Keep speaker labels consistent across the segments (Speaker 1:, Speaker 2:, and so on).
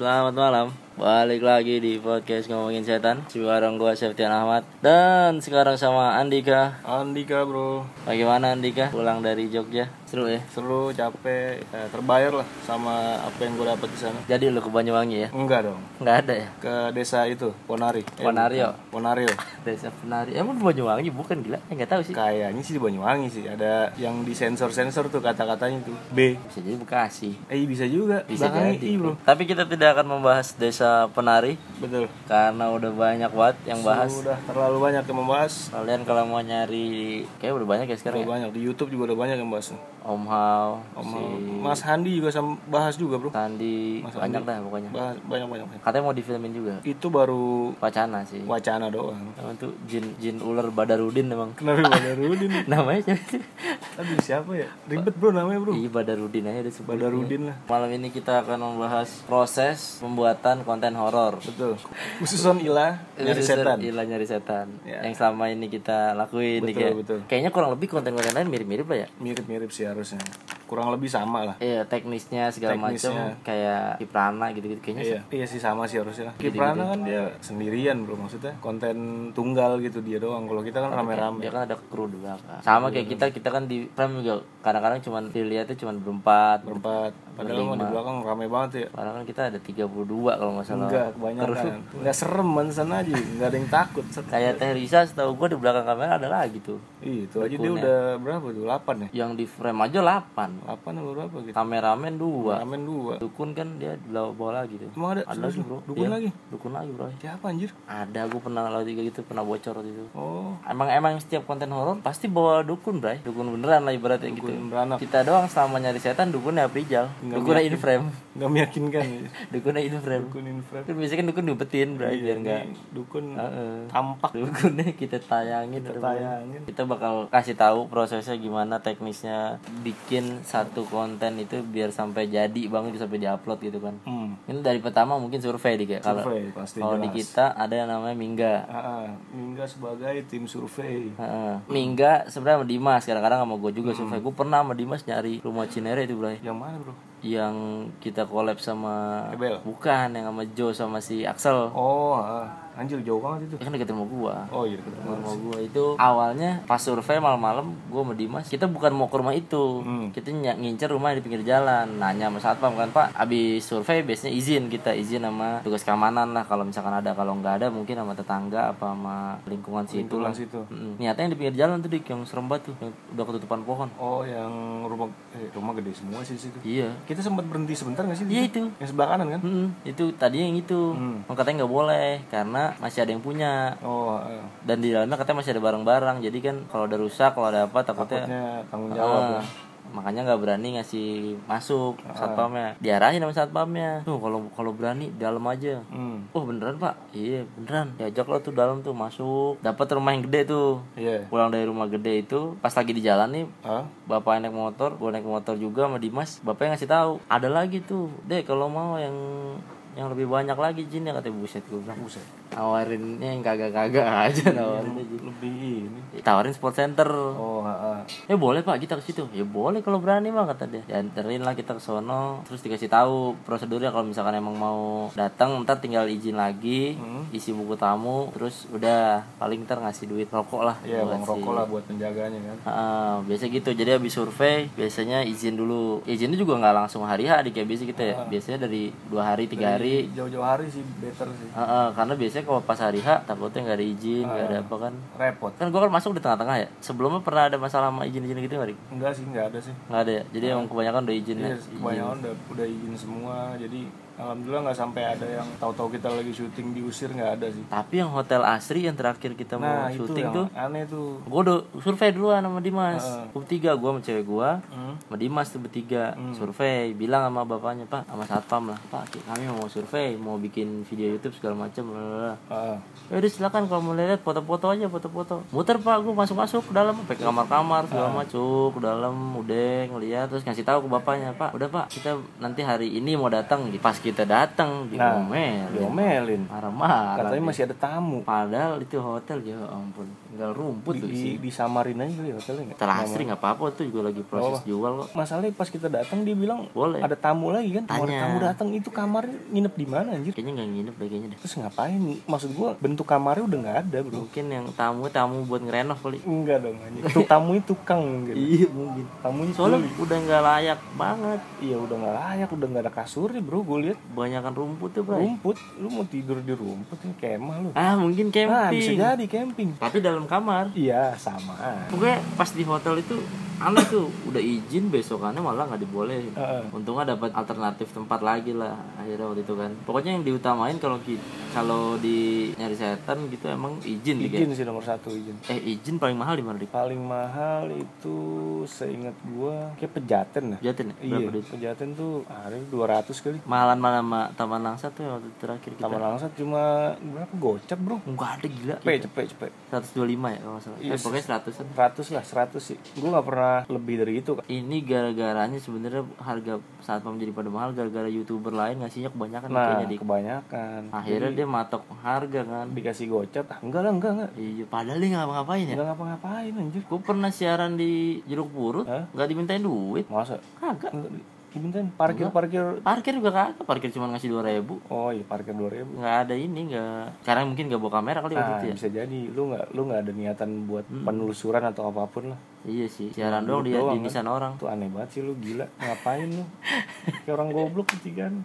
Speaker 1: Selamat malam, balik lagi di podcast ngomongin setan Sekarang gua Septian Ahmad Dan sekarang sama Andika
Speaker 2: Andika bro
Speaker 1: Bagaimana Andika? Pulang dari Jogja, seru ya?
Speaker 2: seru capek eh, terbayar lah sama apa yang gue dapat di sana
Speaker 1: Jadi lu ke Banyuwangi ya?
Speaker 2: enggak dong
Speaker 1: Nggak ada ya?
Speaker 2: ke desa itu Ponari Eh,
Speaker 1: Ponario
Speaker 2: Ponario
Speaker 1: Desa Penari, emang di Banyuwangi bukan gila? Eh, Nggak tahu sih
Speaker 2: kayaknya sih di Banyuwangi sih ada yang disensor sensor tuh kata katanya tuh B
Speaker 1: Bisa jadi Bekasi
Speaker 2: eh bisa juga
Speaker 1: Bisa
Speaker 2: belakangnya
Speaker 1: jadi
Speaker 2: I bro
Speaker 1: iya, Tapi kita tidak akan membahas desa Penari
Speaker 2: betul
Speaker 1: Karena udah banyak banget yang bahas
Speaker 2: sudah terlalu banyak yang membahas
Speaker 1: Kalian kalau mau nyari, kayak udah banyak ya sekarang
Speaker 2: terlalu
Speaker 1: ya?
Speaker 2: banyak di YouTube juga udah banyak yang bahas nih.
Speaker 1: Om Hao,
Speaker 2: Sama
Speaker 1: si
Speaker 2: Mas Handi juga sama bahas juga bro
Speaker 1: Sandi,
Speaker 2: Mas
Speaker 1: banyak
Speaker 2: Andi.
Speaker 1: dah pokoknya
Speaker 2: bahas banyak banyak, banyak.
Speaker 1: Katanya mau difilmin juga
Speaker 2: itu baru
Speaker 1: wacana sih
Speaker 2: wacana doang
Speaker 1: Emang tuh jin jin ular Badarudin emang
Speaker 2: kenapa Badarudin
Speaker 1: namanya siapa sih?
Speaker 2: Aduh siapa ya? Ribet bro namanya bro.
Speaker 1: Iya Badarudin aja udah sebut.
Speaker 2: Badarudin lah.
Speaker 1: Malam ini kita akan membahas proses pembuatan konten horor.
Speaker 2: Betul. Iya, Khususon Ila dari
Speaker 1: User
Speaker 2: setan.
Speaker 1: Gila nyari setan
Speaker 2: Ya.
Speaker 1: Yang selama ini kita lakuin nih,
Speaker 2: Betul,
Speaker 1: kayak.
Speaker 2: betul.
Speaker 1: Kayaknya kurang lebih konten-konten lain mirip-mirip lah ya
Speaker 2: Mirip-mirip sih harusnya. Kurang lebih sama lah.
Speaker 1: Iya teknisnya segala macam
Speaker 2: Teknisnya.
Speaker 1: Kayak Kiprana gitu-gitu Kayaknya
Speaker 2: Iya, iya sih sama sih harusnya. Kiprana kan dia sendirian bro maksudnya. Konten tunggal gitu dia doang. Kalau kita kan rame-rame.
Speaker 1: dia kan ada kru di
Speaker 2: Iya,
Speaker 1: belakang Sama kayak kita, kita kan di frame juga Kadang-kadang cuman dilihatnya cuman berempat
Speaker 2: Berempat. Padahal mah di belakang rame banget ya.
Speaker 1: Padahal kan kita ada 32 kalau nggak salah
Speaker 2: Enggak kebanyakan. Enggak serem mansan aja. Enggak ada yang takut. Set.
Speaker 1: Kayak Teh Risa setahu gue di belakang kamera ada lagi tuh
Speaker 2: Ih, itu aja dia udah berapa tuh? 8 ya?
Speaker 1: Yang di frame aja 8
Speaker 2: 8 atau berapa gitu?
Speaker 1: Kameramen 2
Speaker 2: Ramen 2.
Speaker 1: Dukun kan dia di bawah, bawah lagi tuh
Speaker 2: Emang ada?
Speaker 1: Ada lagi bro
Speaker 2: Dukun
Speaker 1: Iya,
Speaker 2: lagi?
Speaker 1: Dukun lagi bro
Speaker 2: Siapa anjir?
Speaker 1: Ada gue pernah lalu tiga gitu pernah bocor waktu itu
Speaker 2: Oh,
Speaker 1: Emang emang setiap konten horor pasti bawa dukun, Bray. Dukun beneran lah ibaratnya gitu.
Speaker 2: Dukun beranak.
Speaker 1: Kita doang selama nyari setan dukunnya Aprijal. Dukunnya in frame.
Speaker 2: enggak meyakinkan ya.
Speaker 1: Dukunnya in frame.
Speaker 2: Dukun infrared.
Speaker 1: Kan biasanya kan dukun diumpetin, Bray, biar enggak
Speaker 2: Dukun
Speaker 1: Heeh.
Speaker 2: tampak
Speaker 1: dukunnya kita tayangin Iya. kita
Speaker 2: tayangin.
Speaker 1: kita bakal kasih tahu prosesnya gimana teknisnya bikin satu konten itu biar sampai jadi banget sampai diupload gitu kan
Speaker 2: Hmm.
Speaker 1: ini dari pertama mungkin survei di kayak kalau
Speaker 2: survei pasti
Speaker 1: kalau di kita ada yang namanya Mingga
Speaker 2: Ah, ah, Mingga sebagai tim survei
Speaker 1: Heeh. Mingga sebenarnya sama Dimas kadang-kadang sama gue juga survei gue pernah sama Dimas nyari rumah Cinere itu bro
Speaker 2: yang mana bro
Speaker 1: yang kita collab sama
Speaker 2: Ebel?
Speaker 1: bukan yang sama Joe sama si Axel
Speaker 2: oh ah, anjir jauh banget itu
Speaker 1: Dia kan deketin sama gue
Speaker 2: oh iya deket banget.
Speaker 1: rumah gue itu awalnya pas survei malam-malam gue sama Dimas kita bukan mau ke rumah itu kita ny- ngincer rumah di pinggir jalan nanya sama satpam kan pak abis survei biasanya izin kita izin sama tugas keamanan lah kalau misalkan ada kalau nggak ada mungkin sama tetangga apa sama lingkungan situ lah
Speaker 2: Tulang situ
Speaker 1: Mm-mm. niatnya yang di pinggir jalan tuh dik yang serem banget tuh yang udah ketutupan pohon
Speaker 2: oh yang rumah eh, rumah gede semua sih di situ
Speaker 1: iya
Speaker 2: kita sempat berhenti sebentar nggak sih di
Speaker 1: iya
Speaker 2: situ?
Speaker 1: itu
Speaker 2: yang sebelah kanan kan
Speaker 1: Mm-mm. itu tadinya yang itu Emang katanya nggak boleh karena masih ada yang punya
Speaker 2: oh ah,
Speaker 1: dan di dalamnya katanya masih ada barang-barang jadi kan kalau ada rusak kalau ada apa takutnya
Speaker 2: takutnya tanggung jawab
Speaker 1: Ah, makanya nggak berani ngasih masuk satpamnya diarahin sama satpamnya tuh kalau kalau berani dalam aja
Speaker 2: hmm
Speaker 1: oh beneran pak iya beneran diajak lo tuh dalam tuh masuk dapat rumah yang gede tuh
Speaker 2: iya
Speaker 1: pulang dari rumah gede itu pas lagi di jalan nih
Speaker 2: ah
Speaker 1: bapak naik motor gue naik motor juga sama Dimas bapaknya ngasih tahu ada lagi tuh deh kalau mau yang yang lebih banyak lagi jin ya katanya buset gue bilang
Speaker 2: buset
Speaker 1: nawarinnya yang kagak-kagak aja nawarinnya Jin."
Speaker 2: lebih ini
Speaker 1: tawarin sport center
Speaker 2: oh ah, ah.
Speaker 1: ya boleh pak kita ke situ ya boleh kalau berani mah kata dia dianterin lah kita ke sono terus dikasih tahu prosedurnya kalau misalkan emang mau datang ntar tinggal izin lagi isi buku tamu terus udah paling ntar ngasih duit rokok lah
Speaker 2: iya
Speaker 1: buat
Speaker 2: bang
Speaker 1: si-
Speaker 2: rokok lah buat penjaganya kan
Speaker 1: Ah, biasa gitu jadi habis survei biasanya izin dulu izinnya juga nggak langsung hari hari kayak biasa kita ya biasanya dari dua hari tiga hari
Speaker 2: jauh-jauh hari sih better sih
Speaker 1: Ah, ah, karena biasanya kalau pas hari H takutnya nggak ada izin nggak ada apa kan
Speaker 2: repot
Speaker 1: kan gua kan masuk di tengah-tengah ya sebelumnya pernah ada masalah sama izin-izin gitu nggak Dik?
Speaker 2: enggak sih enggak ada sih
Speaker 1: Nggak ada ya? Jadi emang kebanyakan udah izin ya?
Speaker 2: Iya, kebanyakan udah, udah izin semua. Jadi alhamdulillah nggak sampai ada yang tahu-tahu kita lagi syuting diusir nggak ada sih.
Speaker 1: Tapi yang hotel asri yang terakhir kita mau
Speaker 2: Nah, itu
Speaker 1: syuting
Speaker 2: yang
Speaker 1: tuh
Speaker 2: aneh tuh.
Speaker 1: Gue udah survei duluan sama Dimas Gue bertiga, gue sama cewek gue
Speaker 2: Hmm.
Speaker 1: Sama Dimas tuh bertiga Survei, bilang sama bapaknya Pak, sama satpam lah Pak, kami mau survei, mau bikin video Youtube segala macem blablabla."
Speaker 2: Ah,
Speaker 1: Ya udah silakan kalau mau lihat foto-foto aja foto-foto. Muter Pak, gue masuk-masuk ke dalam, sampai ke
Speaker 2: Iya.
Speaker 1: kamar-kamar segala macam, ke dalam, udah ngeliat terus ngasih tahu ke bapaknya, "Pak, udah Pak, kita nanti hari ini mau datang." Pas kita kita datang
Speaker 2: Nah,
Speaker 1: diomelin
Speaker 2: diomelin.
Speaker 1: marah-marah
Speaker 2: Katanya masih ada tamu.
Speaker 1: padahal itu hotel ya ampun tinggal rumput tuh
Speaker 2: Di,
Speaker 1: sih
Speaker 2: di Samarinda aja kali ya, hotelnya nggak?
Speaker 1: telah asri nggak apa-apa tuh juga lagi proses jual kok
Speaker 2: Masalahnya pas kita datang dia bilang
Speaker 1: Boleh.
Speaker 2: ada tamu lagi kan. Mau ada
Speaker 1: Iya. Tanya.
Speaker 2: tamu datang itu kamar nginep di mana anjir?
Speaker 1: kayaknya nggak nginep deh kayaknya deh
Speaker 2: Terus ngapain? Maksud gua bentuk kamarnya udah nggak ada bro.
Speaker 1: mungkin yang tamu tamu buat ngerenov kali
Speaker 2: Enggak dong anjir. Itu tamunya tukang mungkin.
Speaker 1: iya mungkin
Speaker 2: Tamunya
Speaker 1: soalnya
Speaker 2: kuli.
Speaker 1: udah nggak layak banget
Speaker 2: Iya udah nggak layak, udah nggak ada kasurnya bro. Gue lihat
Speaker 1: kebanyakan rumput tuh bro
Speaker 2: rumput, lu mau tidur di rumput ini kemah lu.
Speaker 1: ah mungkin
Speaker 2: Nah
Speaker 1: camping
Speaker 2: bisa jadi camping.
Speaker 1: tapi dalam kamar
Speaker 2: Iya sama.
Speaker 1: pokoknya pas di hotel itu aneh tuh udah izin besokannya malah nggak dibolehin
Speaker 2: Heeh.
Speaker 1: untungnya dapat alternatif tempat lagi lah akhirnya waktu itu kan pokoknya yang diutamain kalau ki- kalau di nyari setan gitu emang izin, deh
Speaker 2: Izin sih nomor satu izin.
Speaker 1: eh izin paling mahal di mana di
Speaker 2: Paling mahal itu seingat gua kayak pejaten lah.
Speaker 1: Jatin ya?
Speaker 2: Iya,
Speaker 1: berapa duit
Speaker 2: pejaten tuh hari 200 kali.
Speaker 1: mahalan malah sama Taman Langsa tuh yang waktu terakhir kita
Speaker 2: Taman Langsat cuma berapa gocap, Bro?
Speaker 1: nggak ada gila
Speaker 2: Cepet, cepet, cepet.
Speaker 1: 125 ya kalau nggak salah eh,
Speaker 2: Yes.
Speaker 1: pokoknya 100an
Speaker 2: 100 lah, 100 sih. Gua nggak pernah lebih dari itu, Kak.
Speaker 1: ini gara-garanya sebenarnya harga saat pam jadi pada mahal gara-gara youtuber lain ngasihnya kebanyakan
Speaker 2: Nah,
Speaker 1: kayaknya di
Speaker 2: kebanyakan.
Speaker 1: akhirnya dia matok harga kan
Speaker 2: Dikasih gocap. Ah, enggak lah, enggak, enggak.
Speaker 1: iya padahal dia nggak ngapain ya
Speaker 2: Enggak ngapa-ngapain anjir.
Speaker 1: gue pernah siaran di jeruk purut
Speaker 2: Hah?
Speaker 1: nggak dimintain duit
Speaker 2: Masa?
Speaker 1: kagak
Speaker 2: Enggak, di- dimintain parkir-parkir.
Speaker 1: parkir juga kagak parkir cuma ngasih dua ribu
Speaker 2: Oh, iya parkir 2000.
Speaker 1: nggak ada ini nggak karena mungkin nggak bawa kamera kali waktu itu
Speaker 2: Nah,
Speaker 1: ya Hmm.
Speaker 2: bisa jadi lu nggak lu nggak ada niatan buat penelusuran atau apapun lah.
Speaker 1: iya sih siaran doang dia
Speaker 2: doang
Speaker 1: di
Speaker 2: kan?
Speaker 1: nisan orang
Speaker 2: Itu aneh banget sih lu gila. Ngapain lu? Kayak orang goblok ketigaan.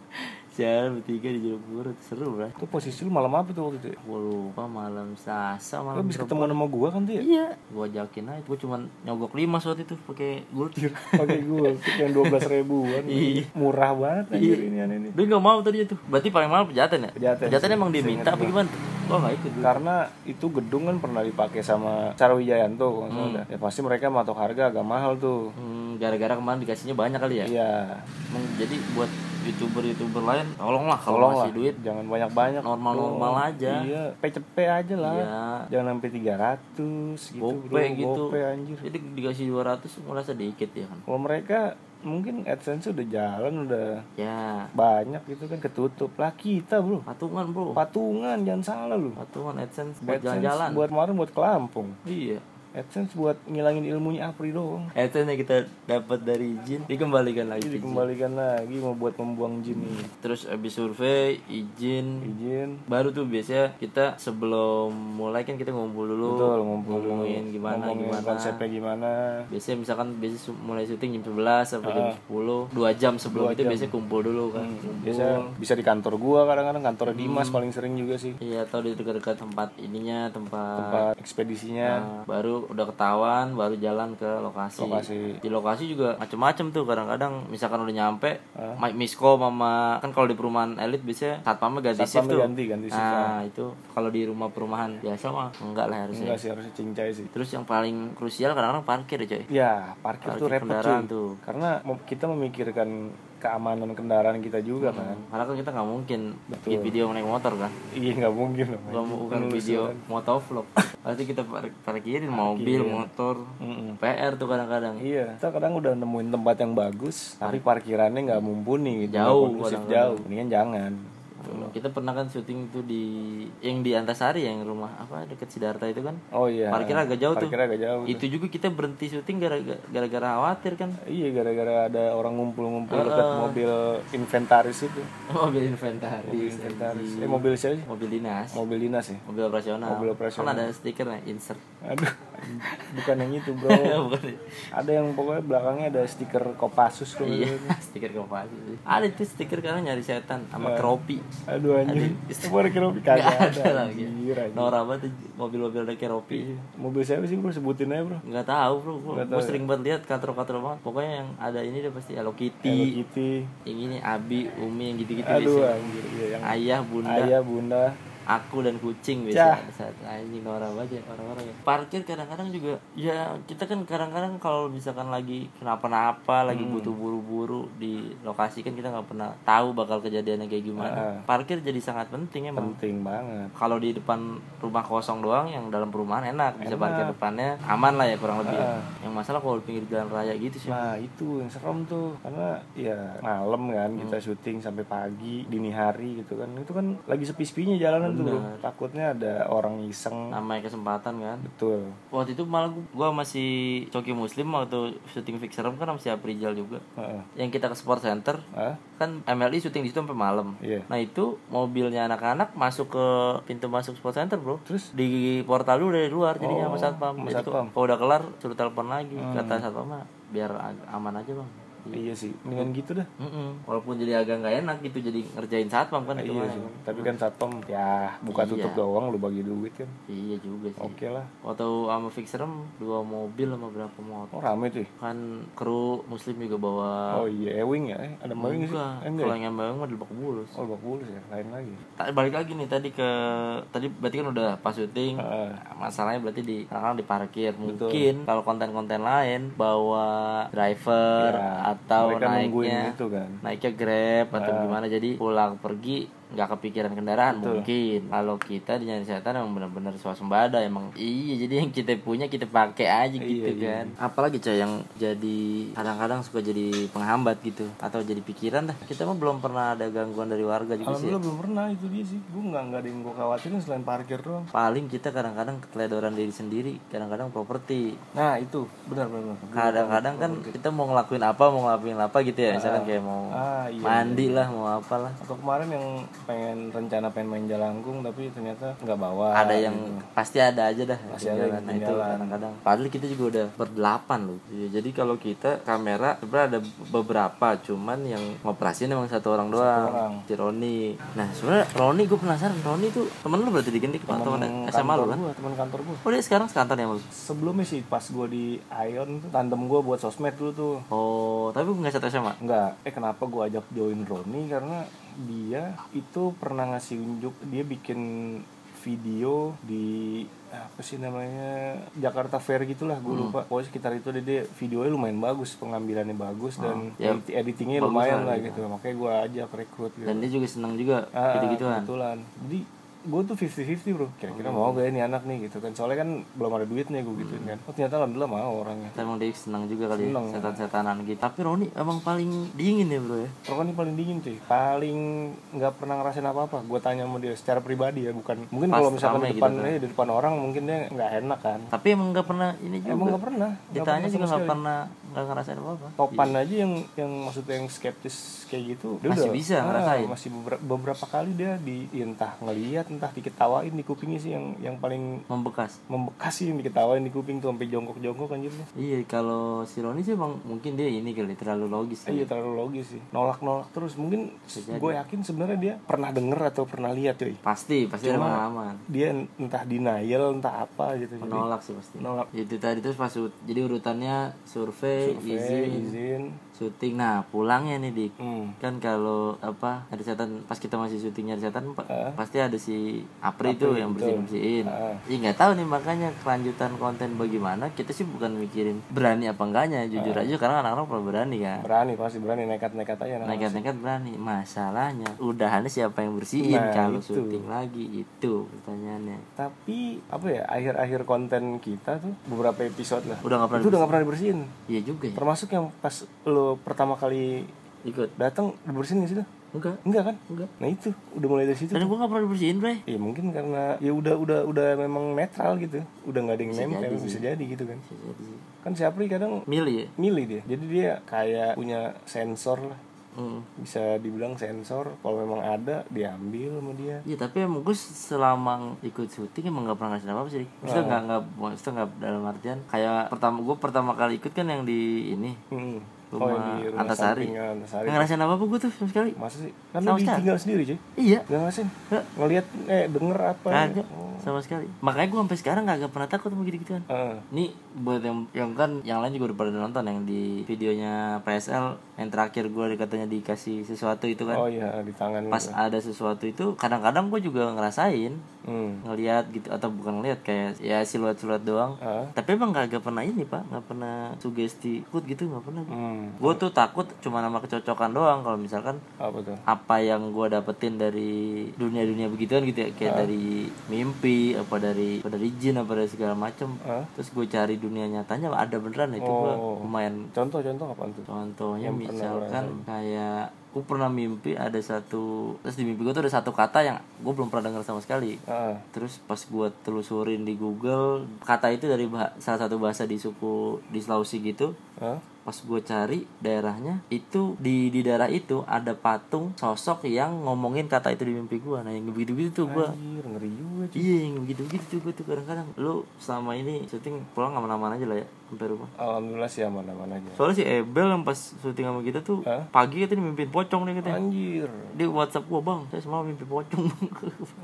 Speaker 1: siaran bertiga di jeruk purut seru lah
Speaker 2: Itu posisi lu malam apa tuh waktu itu? ya?
Speaker 1: gue lupa malam sasa
Speaker 2: Lu
Speaker 1: malam
Speaker 2: habis ketemu sama gua kan tuh ya?
Speaker 1: Iya, gua ajakin aja. Gua cuman nyogok lima saat itu pakai gultir.
Speaker 2: Pakai gua yang 12 ribuan.
Speaker 1: Iya.
Speaker 2: Murah banget anjir ini aneh ini.
Speaker 1: Dia nggak mau tadi itu. Berarti paling mahal pejaten ya?
Speaker 2: Pejaten.
Speaker 1: emang dia minta apa gimana? Gua nggak ikut.
Speaker 2: Karena itu gedung kan pernah dipakai sama Sarwijayanto kalau nggak salah. Ya pasti mereka matok harga agak mahal tuh.
Speaker 1: Hmm, gara-gara kemarin dikasihnya banyak kali ya.
Speaker 2: Iya,
Speaker 1: Emang jadi buat youtuber-youtuber lain, tolonglah kalau
Speaker 2: tolong lah.
Speaker 1: ngasih duit
Speaker 2: Jangan banyak-banyak.
Speaker 1: normal-normal aja.
Speaker 2: Iya, PCP aja lah.
Speaker 1: Iya.
Speaker 2: Jangan sampai 300 gitu,
Speaker 1: Gope
Speaker 2: bro.
Speaker 1: gitu.
Speaker 2: Gope anjir.
Speaker 1: Jadi dikasih 200 merasa dikit ya kan.
Speaker 2: Kalau mereka mungkin AdSense udah jalan udah
Speaker 1: Ya,
Speaker 2: banyak gitu kan ketutup lah kita, Bro.
Speaker 1: patungan, Bro.
Speaker 2: Patungan jangan salah lu.
Speaker 1: Patungan AdSense buat
Speaker 2: AdSense
Speaker 1: jalan-jalan.
Speaker 2: buat kemarin buat ke Lampung.
Speaker 1: Iya.
Speaker 2: AdSense buat ngilangin ilmunya Apri doang.
Speaker 1: AdSense yang kita dapat dari izin dikembalikan lagi. ke izin.
Speaker 2: Dikembalikan lagi mau buat membuang jin ini.
Speaker 1: Terus abis survei, izin,
Speaker 2: Izin
Speaker 1: baru tuh biasanya kita sebelum mulai kan kita ngumpul dulu
Speaker 2: Betul, ngumpul
Speaker 1: ngomongin gimana
Speaker 2: ngomongin
Speaker 1: gimana
Speaker 2: konsepnya gimana.
Speaker 1: biasanya misalkan biasanya su- mulai syuting jam 11 sampai jam
Speaker 2: Ah.
Speaker 1: 10 dua jam sebelum itu biasanya kumpul dulu kan
Speaker 2: Hmm.
Speaker 1: Kumpul.
Speaker 2: Biasa bisa di kantor gua kadang-kadang kantor
Speaker 1: Hmm.
Speaker 2: Dimas paling sering juga sih.
Speaker 1: iya atau di dekat-dekat tempat ininya tempat
Speaker 2: Tempat ekspedisinya.
Speaker 1: Nah, baru udah ketahuan baru jalan ke lokasi,
Speaker 2: Lokasi.
Speaker 1: di lokasi juga macem-macem tuh kadang-kadang misalkan udah nyampe
Speaker 2: Ah.
Speaker 1: mic miskom sama kan kalau di perumahan elit biasanya satpamnya ganti shift tuh
Speaker 2: ganti ganti sih.
Speaker 1: nah itu kalau di rumah perumahan biasa mah enggak lah harusnya
Speaker 2: Enggak sih harusnya cincai sih.
Speaker 1: Terus yang paling krusial kadang-kadang parkir ya coy
Speaker 2: Ya, parkir, tuh repot
Speaker 1: kendaraan
Speaker 2: cuy.
Speaker 1: tuh.
Speaker 2: Karena mem- kita memikirkan keamanan kendaraan kita juga kan.
Speaker 1: Karena kan kita nggak mungkin bikin video naik motor kan
Speaker 2: Iya nggak mungkin loh.
Speaker 1: Bukan, bukan video motovlog Pasti kita par- parkirin mobil, motor PR tuh kadang-kadang
Speaker 2: Iya, kita kadang udah nemuin tempat yang bagus, tapi parkirannya nggak mumpuni gitu.
Speaker 1: Ah. Jauh,
Speaker 2: Nggak kondusif jauh. Mendingan jangan.
Speaker 1: Kita pernah kan syuting itu di Yang di Antasari ya, yang rumah apa deket Sidarta itu kan
Speaker 2: Oh iya.
Speaker 1: Parkir agak jauh tuh
Speaker 2: Parkir agak jauh.
Speaker 1: Itu juga kita berhenti syuting gara-gara gara-gara khawatir kan
Speaker 2: Iya, gara-gara ada orang ngumpul-ngumpul dekat
Speaker 1: Ah.
Speaker 2: mobil inventaris itu.
Speaker 1: Mobil inventaris
Speaker 2: Inventaris. Eh mobil siapa sih?
Speaker 1: Mobil dinas
Speaker 2: Mobil dinas ya.
Speaker 1: Mobil operasional
Speaker 2: Mobil operasional.
Speaker 1: Kan ada stikernya insert
Speaker 2: Aduh, bukan yang itu bro.
Speaker 1: Bukan ya?
Speaker 2: Ada yang pokoknya belakangnya ada stiker Kopassus gitu. tuh.
Speaker 1: Iya, stiker Kopassus sih. Ada tuh stiker karena nyari setan sama keropi.
Speaker 2: Aduh anjir. Itu ada keropi
Speaker 1: Nggak
Speaker 2: Ya. kagak
Speaker 1: ada
Speaker 2: ada.
Speaker 1: lagi.
Speaker 2: Anjir, anjir. Iya.
Speaker 1: Nora banget tuh mobil-mobil ada keropi.
Speaker 2: Mobil siapa sih bro sebutin aja bro.
Speaker 1: Nggak tahu, Bro. Gua, gua sering
Speaker 2: ya.
Speaker 1: banget lihat katro-katro banget. Pokoknya yang ada ini udah pasti Hello
Speaker 2: Hello
Speaker 1: Kitty.
Speaker 2: Kitty.
Speaker 1: Yang ini Abi, Umi yang gitu-gitu
Speaker 2: Aduh
Speaker 1: biasanya.
Speaker 2: anjir. Iya, yang
Speaker 1: Ayah, Bunda.
Speaker 2: ayah bunda.
Speaker 1: aku dan kucing biasa saat anjing orang aja orang-orang ya. parkir kadang-kadang juga ya kita kan kadang-kadang kalau misalkan lagi kenapa-napa lagi butuh buru-buru di lokasi kan kita nggak pernah tahu bakal kejadiannya kayak gimana
Speaker 2: Ah.
Speaker 1: parkir jadi sangat penting emang
Speaker 2: penting banget
Speaker 1: kalau di depan rumah kosong doang yang dalam perumahan enak bisa parkir depannya aman lah ya kurang lebih
Speaker 2: Ah.
Speaker 1: yang masalah kalau di pinggir jalan raya gitu sih
Speaker 2: Nah itu yang serem tuh Karena ya malam kan
Speaker 1: Hmm.
Speaker 2: kita syuting sampai pagi Dini hari gitu kan Itu kan lagi sepi-sepinya jalanan tuh bro. Takutnya ada orang iseng
Speaker 1: namanya kesempatan kan
Speaker 2: Betul
Speaker 1: waktu itu malah gu- gua masih coki muslim waktu syuting fix serem kan sama si Aprijal juga
Speaker 2: Heeh.
Speaker 1: yang kita ke sport center
Speaker 2: Hah?
Speaker 1: kan MLI syuting di situ sampai malam
Speaker 2: Iya.
Speaker 1: nah itu mobilnya anak-anak masuk ke pintu masuk sport center bro
Speaker 2: Terus?
Speaker 1: di portal dulu dari luar jadinya sama
Speaker 2: Oh,
Speaker 1: satpam
Speaker 2: sama
Speaker 1: jadi kok-
Speaker 2: satpam. Hmm.
Speaker 1: kalau udah kelar suruh telepon lagi kata satpam "Mah, biar ag- aman aja bang
Speaker 2: Iya sih Mendingan gitu dah
Speaker 1: Mm-mm. walaupun jadi agak nggak enak gitu jadi ngerjain satpam kan itu
Speaker 2: Iya
Speaker 1: mah.
Speaker 2: sih Tapi kan satpam ya buka tutup doang lu bagi duit kan
Speaker 1: iya juga sih
Speaker 2: Oke lah
Speaker 1: waktu sama fix serem dua mobil sama berapa motor
Speaker 2: Oh rame tuh ya?
Speaker 1: kan kru muslim juga bawa
Speaker 2: Oh iya Ewing ya Eh, Ada Ewing
Speaker 1: Ah.
Speaker 2: sih
Speaker 1: Enggak,
Speaker 2: Eh, enggak
Speaker 1: kalau
Speaker 2: ya?
Speaker 1: yang bawang mah di Lebak Bulus.
Speaker 2: Oh Lebak Bulus ya Lain lagi
Speaker 1: Ta- balik lagi nih tadi ke tadi berarti kan udah pas syuting. Nah,
Speaker 2: Heeh.
Speaker 1: Masalahnya berarti di kadang di parkir. Mungkin kalau konten-konten lain bawa driver atau
Speaker 2: Iya. Mereka nungguin
Speaker 1: naiknya Iya.
Speaker 2: gitu kan
Speaker 1: naiknya Grab atau
Speaker 2: Ah.
Speaker 1: gimana jadi pulang pergi nggak kepikiran kendaraan mungkin kalau kita di nyari setan emang benar-benar swasembada emang iya jadi yang kita punya kita pakai aja
Speaker 2: Iya,
Speaker 1: gitu kan apalagi coy yang jadi kadang-kadang suka jadi penghambat gitu atau jadi pikiran dah kita mah belum pernah ada gangguan dari warga juga sih ya.
Speaker 2: Alhamdulillah belum pernah itu dia sih Gue nggak nggak ada yang gue khawatirin selain parkir doang
Speaker 1: paling kita kadang-kadang keteledoran diri sendiri kadang-kadang properti
Speaker 2: Nah itu benar benar. benar.
Speaker 1: kadang-kadang kan kita mau ngelakuin apa mau ngelakuin apa gitu ya misalkan kayak mau
Speaker 2: Iya, Ah iya.
Speaker 1: mandi lah mau apalah
Speaker 2: Atau kemarin yang pengen rencana pengen main jalangkung tapi ternyata nggak bawa.
Speaker 1: ada yang Iya. pasti ada aja dah
Speaker 2: Pasti ada yang
Speaker 1: ketinggalan. Nah, itu kadang-kadang padahal kita juga udah berdelapan loh Iya, jadi kalau kita kamera sebenarnya ada beberapa cuman yang ngoperasiin emang satu orang doang
Speaker 2: orang.
Speaker 1: si Roni nah sebenarnya Roni gue penasaran Roni tuh temen lu berarti di Gendik atau
Speaker 2: Temen
Speaker 1: SMA lu
Speaker 2: kantor
Speaker 1: kan
Speaker 2: gua, teman kantor gue.
Speaker 1: oh dia sekarang sekantor ya sama lu?
Speaker 2: Sebelumnya sih pas gue di Ion tuh tandem gue buat sosmed dulu tuh.
Speaker 1: oh tapi nggak satu SMA
Speaker 2: Enggak, eh kenapa gue ajak join Roni karena dia itu pernah ngasih unjuk dia bikin video di apa sih namanya Jakarta Fair gitulah gue lupa pokoknya sekitar itu deh dia videonya lumayan bagus pengambilannya bagus dan
Speaker 1: ya,
Speaker 2: edit- editingnya lumayan Oh, lah gitu makanya gue ajak rekrut gitu
Speaker 1: dan dia juga seneng juga
Speaker 2: Ah,
Speaker 1: gitu-gituan
Speaker 2: kebetulan jadi gue tuh 50-50 bro kira-kira mau gak ya nih anak nih gitu kan soalnya kan belum ada duitnya gue gituin kan oh ternyata alhamdulillah mau orangnya
Speaker 1: Tapi emang dia seneng juga kali ya setan-setanan gitu tapi Roni emang paling dingin ya bro ya
Speaker 2: Rokok ini paling dingin cuy paling nggak pernah ngerasain apa-apa gue tanya sama dia secara pribadi ya bukan mungkin kalau misalkan
Speaker 1: gitu
Speaker 2: di depan eh, di depan orang mungkin dia nggak enak kan
Speaker 1: tapi emang nggak pernah ini juga
Speaker 2: emang nggak pernah
Speaker 1: Ya, ditanya juga nggak pernah nggak ngerasain apa apa
Speaker 2: topan aja yang yang maksudnya yang skeptis kayak gitu dia
Speaker 1: Masih
Speaker 2: udah-
Speaker 1: bisa
Speaker 2: ah,
Speaker 1: ngerasain.
Speaker 2: masih beberapa, beberapa kali dia di entah ngelihat entah diketawain di kupingnya sih yang yang paling
Speaker 1: membekas
Speaker 2: membekas sih yang diketawain di kuping tuh sampai jongkok-jongkok anjir tuh.
Speaker 1: iya kalau si Roni sih emang mungkin dia ini kali terlalu logis
Speaker 2: Iya terlalu logis sih. Nolak-nolak terus mungkin gue yakin sebenarnya dia pernah denger atau pernah lihat cuy.
Speaker 1: pasti pasti ada pengalaman
Speaker 2: Dia entah denial entah apa gitu. Jadi
Speaker 1: nolak sih pasti
Speaker 2: Nolak.
Speaker 1: itu tadi terus pas ut- jadi urutannya survei,
Speaker 2: eh,
Speaker 1: izin
Speaker 2: izin.
Speaker 1: syuting nah pulangnya nih dik
Speaker 2: Hmm.
Speaker 1: kan kalau apa ada setan pas kita masih syuting nyari setan pa- pasti ada si Apri itu yang bersihin bersihin ya nggak tahu nih makanya kelanjutan konten bagaimana kita sih bukan mikirin berani apa enggaknya jujur aja karena anak-anak pernah berani kan
Speaker 2: Berani pasti berani nekat-nekat aja nah.
Speaker 1: nekat-nekat berani masalahnya udahannya siapa yang bersihin kalau syuting lagi itu pertanyaannya
Speaker 2: Tapi apa ya akhir-akhir konten kita tuh beberapa episode lah.
Speaker 1: udah nggak pernah
Speaker 2: itu udah gak pernah dibersihin.
Speaker 1: iya juga ya
Speaker 2: Termasuk yang pas lo pertama kali
Speaker 1: ikut
Speaker 2: datang dibersihin gak sih lo?
Speaker 1: enggak
Speaker 2: Enggak kan?
Speaker 1: Enggak.
Speaker 2: Nah itu udah mulai dari situ.
Speaker 1: dan gua nggak pernah dibersihin bre
Speaker 2: Ya mungkin karena ya udah udah udah memang netral gitu. Udah nggak ada yang nempel bisa jadi gitu kan. Kan si Apri kadang
Speaker 1: milih ya
Speaker 2: milih dia. Jadi dia kayak punya sensor lah.
Speaker 1: Mm.
Speaker 2: Bisa dibilang sensor kalau memang ada diambil sama dia.
Speaker 1: Iya tapi emang gue selama ikut syuting emang gak pernah ngerasain apa-apa sih Dik. Maksudnya nggak nggak maksudnya nggak dalam artian Kayak pertama gue pertama kali ikut kan yang di ini
Speaker 2: Hmm.
Speaker 1: rumah,
Speaker 2: yang di rumah
Speaker 1: Antasari.
Speaker 2: samping Antasari.
Speaker 1: Nggak ngerasain apa apa gue tuh sama sekali.
Speaker 2: Masa sih? Kan
Speaker 1: Sama
Speaker 2: lu
Speaker 1: sekali.
Speaker 2: ditinggal sendiri, cuy.
Speaker 1: Iya.
Speaker 2: Gak ngerasain?
Speaker 1: Nggak.
Speaker 2: Ngeliat, eh, denger apa?
Speaker 1: Kagak
Speaker 2: Oh.
Speaker 1: sama sekali. Makanya gue sampai sekarang kagak pernah takut sama gitu-gituan.
Speaker 2: Eh,
Speaker 1: Ini buat yang, yang kan yang lain juga udah pada nonton yang di videonya PSL yang terakhir gue katanya dikasih sesuatu itu kan.
Speaker 2: oh iya, di tangan lu.
Speaker 1: Pas ada sesuatu itu kadang-kadang gue juga ngerasain
Speaker 2: Hmm.
Speaker 1: ngelihat gitu atau bukan ngelihat kayak ya siluet-siluet doang.
Speaker 2: Ah.
Speaker 1: Tapi emang kagak pernah ini pak, nggak pernah sugesti ikut gitu nggak pernah.
Speaker 2: Hmm.
Speaker 1: Gue tuh takut cuma nama kecocokan doang kalau misalkan
Speaker 2: Apa tuh?
Speaker 1: apa yang gue dapetin dari dunia-dunia begituan gitu ya kayak
Speaker 2: Ah.
Speaker 1: dari mimpi apa dari apa dari jin apa dari segala macem
Speaker 2: Ah.
Speaker 1: terus gue cari dunia nyatanya ada beneran itu gua
Speaker 2: Oh.
Speaker 1: lumayan
Speaker 2: Contoh-contoh apaan tuh?
Speaker 1: contohnya misalkan kayak gue pernah mimpi ada satu terus di mimpi gue tuh ada satu kata yang gue belum pernah dengar sama sekali
Speaker 2: Ah,
Speaker 1: terus pas gue telusurin di Google kata itu dari bah- salah satu bahasa di suku di Sulawesi gitu
Speaker 2: ah,
Speaker 1: pas gue cari daerahnya itu di di daerah itu ada patung sosok yang ngomongin kata itu di mimpi gue nah yang begitu begitu tuh gue
Speaker 2: anjir, ngeri juga, cuy.
Speaker 1: iya yang begitu begitu tuh gue tuh kadang-kadang lu selama ini syuting pulang aman-aman aja lah ya sampai rumah
Speaker 2: Alhamdulillah sih aman-aman aja.
Speaker 1: soalnya si Ebel yang pas syuting sama kita tuh
Speaker 2: Hah?
Speaker 1: pagi itu mimpiin pocong nih katanya
Speaker 2: Anjir.
Speaker 1: di WhatsApp gue bang saya semalam mimpi pocong Bang."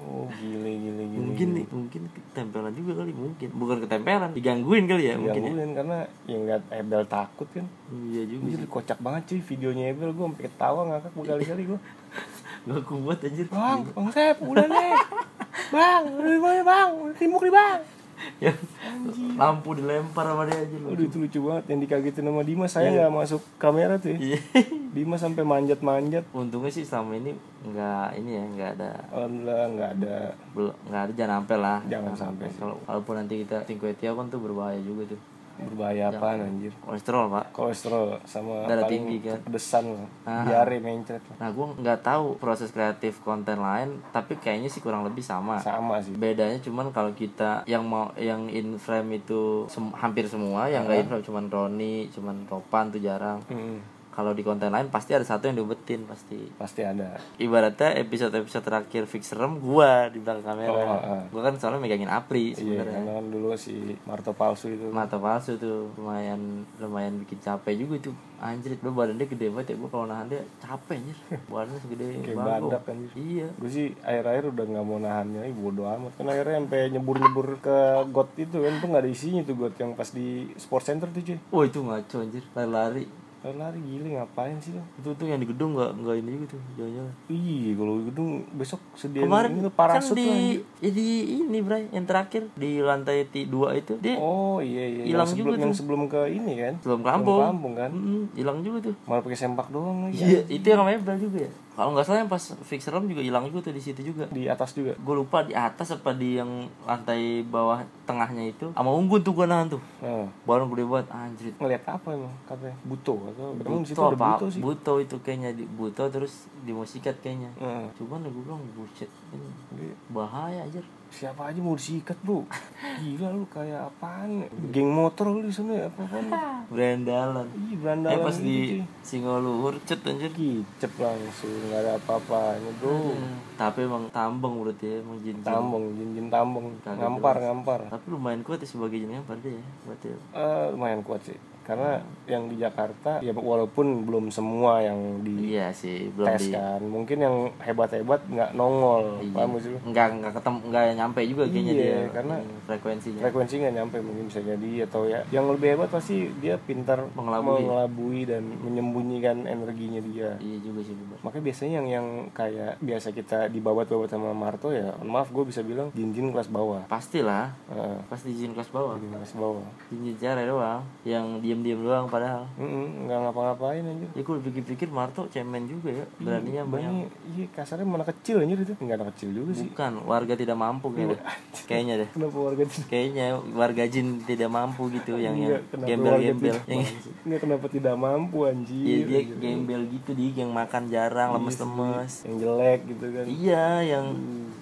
Speaker 2: Oh, gile, gile, gile.
Speaker 1: mungkin nih mungkin ketempelan juga kali mungkin bukan ketempelan digangguin kali ya mungkin ya
Speaker 2: Gangguin karena yang lihat Ebel takut kan.
Speaker 1: iya juga
Speaker 2: Anjir, kocak banget cuy videonya Ebel gue sampai ketawa ngakak berkali-kali Iya. gue.
Speaker 1: gak kuat anjir
Speaker 2: Bang, Bang Sep, udah nih. Bang, udah dimana bang? Udah timuk nih bang.
Speaker 1: yang lampu dilempar sama dia aja lu
Speaker 2: Aduh itu lucu banget yang dikagetin sama Dimas saya nggak masuk kamera tuh. Ya.
Speaker 1: Iya.
Speaker 2: Dimas sampai manjat-manjat.
Speaker 1: untungnya sih selama ini nggak ini ya nggak ada
Speaker 2: Alhamdulillah nggak ada.
Speaker 1: belum nggak ada jangan sampai lah
Speaker 2: Jangan sampai
Speaker 1: kalau walaupun nanti kita tingkuetia kan tuh berbahaya juga tuh
Speaker 2: berbahaya apaan anjir.
Speaker 1: kolesterol pak
Speaker 2: Kolesterol sama
Speaker 1: Darah
Speaker 2: paling
Speaker 1: tinggi, kan?
Speaker 2: kepedesan lah. Diare mencret lah.
Speaker 1: nah gue nggak tahu proses kreatif konten lain tapi kayaknya sih kurang lebih sama
Speaker 2: Sama sih.
Speaker 1: bedanya cuman kalau kita yang mau yang in frame itu sem- hampir semua yang nggak in frame cuman Roni cuman Ropan tuh jarang
Speaker 2: Mm,
Speaker 1: kalau di konten lain pasti ada satu yang diubetin pasti
Speaker 2: pasti ada.
Speaker 1: ibaratnya episode-episode terakhir fix serem gua di belakang kamera.
Speaker 2: Oh, ah.
Speaker 1: Gua kan soalnya megangin Apri
Speaker 2: Iya,
Speaker 1: sebenarnya.
Speaker 2: karena kan dulu si Marto palsu itu.
Speaker 1: Mata palsu tuh lumayan lumayan bikin capek juga tuh. Anjir, lu badannya gede banget ya. Gua kalau nahan dia capek anjir. Badannya segede
Speaker 2: Kayak
Speaker 1: bangku.
Speaker 2: badak anjir.
Speaker 1: Iya.
Speaker 2: Gue sih air-air udah nggak mau nahannya, ih bodo amat. Kan akhirnya sampai nyebur-nyebur ke got itu kan, tuh nggak ada isinya tuh got yang pas di sport center tuh cuy.
Speaker 1: Wah, Oh, itu ngaco anjir. Lari-lari.
Speaker 2: Lari-lari gile ngapain sih lo?
Speaker 1: Itu tuh yang di gedung nggak nggak ini juga tuh jalan-jalan.
Speaker 2: Ih, kalau di gedung besok sediain
Speaker 1: Kemarin
Speaker 2: ini tuh
Speaker 1: kan
Speaker 2: parasut lah.
Speaker 1: di ya di ini Bray yang terakhir di lantai 2 itu dia
Speaker 2: Oh iya iya.
Speaker 1: Hilang
Speaker 2: yang sebelum,
Speaker 1: juga
Speaker 2: yang sebelum ke ini kan.
Speaker 1: belum kampung.
Speaker 2: kampung kan.
Speaker 1: Mm-mm, hilang juga tuh.
Speaker 2: Malah pakai sempak doang lagi.
Speaker 1: Iya, itu yang namanya Bel juga ya. Kalau nggak salah yang pas fix room juga hilang juga tuh di situ juga.
Speaker 2: Di atas juga.
Speaker 1: Gue lupa di atas apa di yang lantai bawah tengahnya itu. Sama unggun tuh gue nahan tuh.
Speaker 2: Nah,
Speaker 1: Baru gede banget anjir.
Speaker 2: ngeliat apa emang katanya? Buto atau emang di situ
Speaker 1: Buto
Speaker 2: ada
Speaker 1: apa?
Speaker 2: buto sih.
Speaker 1: Buto itu kayaknya di buto terus di musikat kayaknya.
Speaker 2: Heeh.
Speaker 1: Cuman gue bilang buset ini
Speaker 2: Jadi,
Speaker 1: bahaya anjir.
Speaker 2: siapa aja mau disikat bro gila lu kayak apaan ya? geng motor lu di sana ya apa apaan
Speaker 1: Berandalan.
Speaker 2: ih
Speaker 1: Eh
Speaker 2: berandalan
Speaker 1: pas
Speaker 2: gitu,
Speaker 1: di
Speaker 2: cuy.
Speaker 1: Singoluhur cet anjir.
Speaker 2: kicep langsung nggak ada apa-apanya bro
Speaker 1: Tapi emang tambang menurut ya, emang jin
Speaker 2: tambong jinjin tambong
Speaker 1: Kagak
Speaker 2: ngampar
Speaker 1: jelas.
Speaker 2: ngampar
Speaker 1: Tapi lumayan kuat ya sebagai jin yang pada ya, berarti ya.
Speaker 2: Eh, lumayan kuat sih karena yang di Jakarta ya walaupun belum semua yang di
Speaker 1: Iya sih, belum
Speaker 2: tes
Speaker 1: di Iya.
Speaker 2: kan mungkin yang hebat-hebat nggak nongol paham gak sih lu?
Speaker 1: nggak nggak ketemu nggak nyampe juga kayaknya
Speaker 2: Iya,
Speaker 1: dia
Speaker 2: karena-
Speaker 1: hmm, frekuensinya
Speaker 2: frekuensi nggak nyampe mungkin bisa jadi atau ya yang lebih hebat pasti dia pintar
Speaker 1: Mengelabui.
Speaker 2: mengelabui dan menyembunyikan energinya dia
Speaker 1: iya juga sih bener
Speaker 2: Makanya biasanya yang yang kayak biasa kita dibabat-babat sama Marto ya, mohon maaf gue bisa bilang jinjin kelas bawah.
Speaker 1: pastilah
Speaker 2: Heeh,
Speaker 1: pasti izin kelas bawah
Speaker 2: jinjin kelas bawah.
Speaker 1: izin cara doang yang diem diem doang padahal
Speaker 2: Mm-mm, nggak ngapa-ngapain anjir.
Speaker 1: ya gue pikir-pikir Marto cemen juga ya beraninya banyak
Speaker 2: Ini iya kasarnya mana kecil anjir itu. Enggak anak kecil juga sih. Iya.
Speaker 1: bukan warga tidak mampu kayaknya kayaknya deh
Speaker 2: Kenapa warga tidak
Speaker 1: kayaknya warga jin tidak mampu gitu yang yang
Speaker 2: Nggak, Iya, kenapa
Speaker 1: gembel
Speaker 2: warga
Speaker 1: gembel
Speaker 2: tidak
Speaker 1: yang
Speaker 2: mampu? Nggak, kenapa tidak mampu anjir.
Speaker 1: iya, dia
Speaker 2: anjir.
Speaker 1: gembel gitu dia yang makan
Speaker 2: Iya
Speaker 1: jarang lemes lemes
Speaker 2: Yang jelek gitu kan.
Speaker 1: iya yang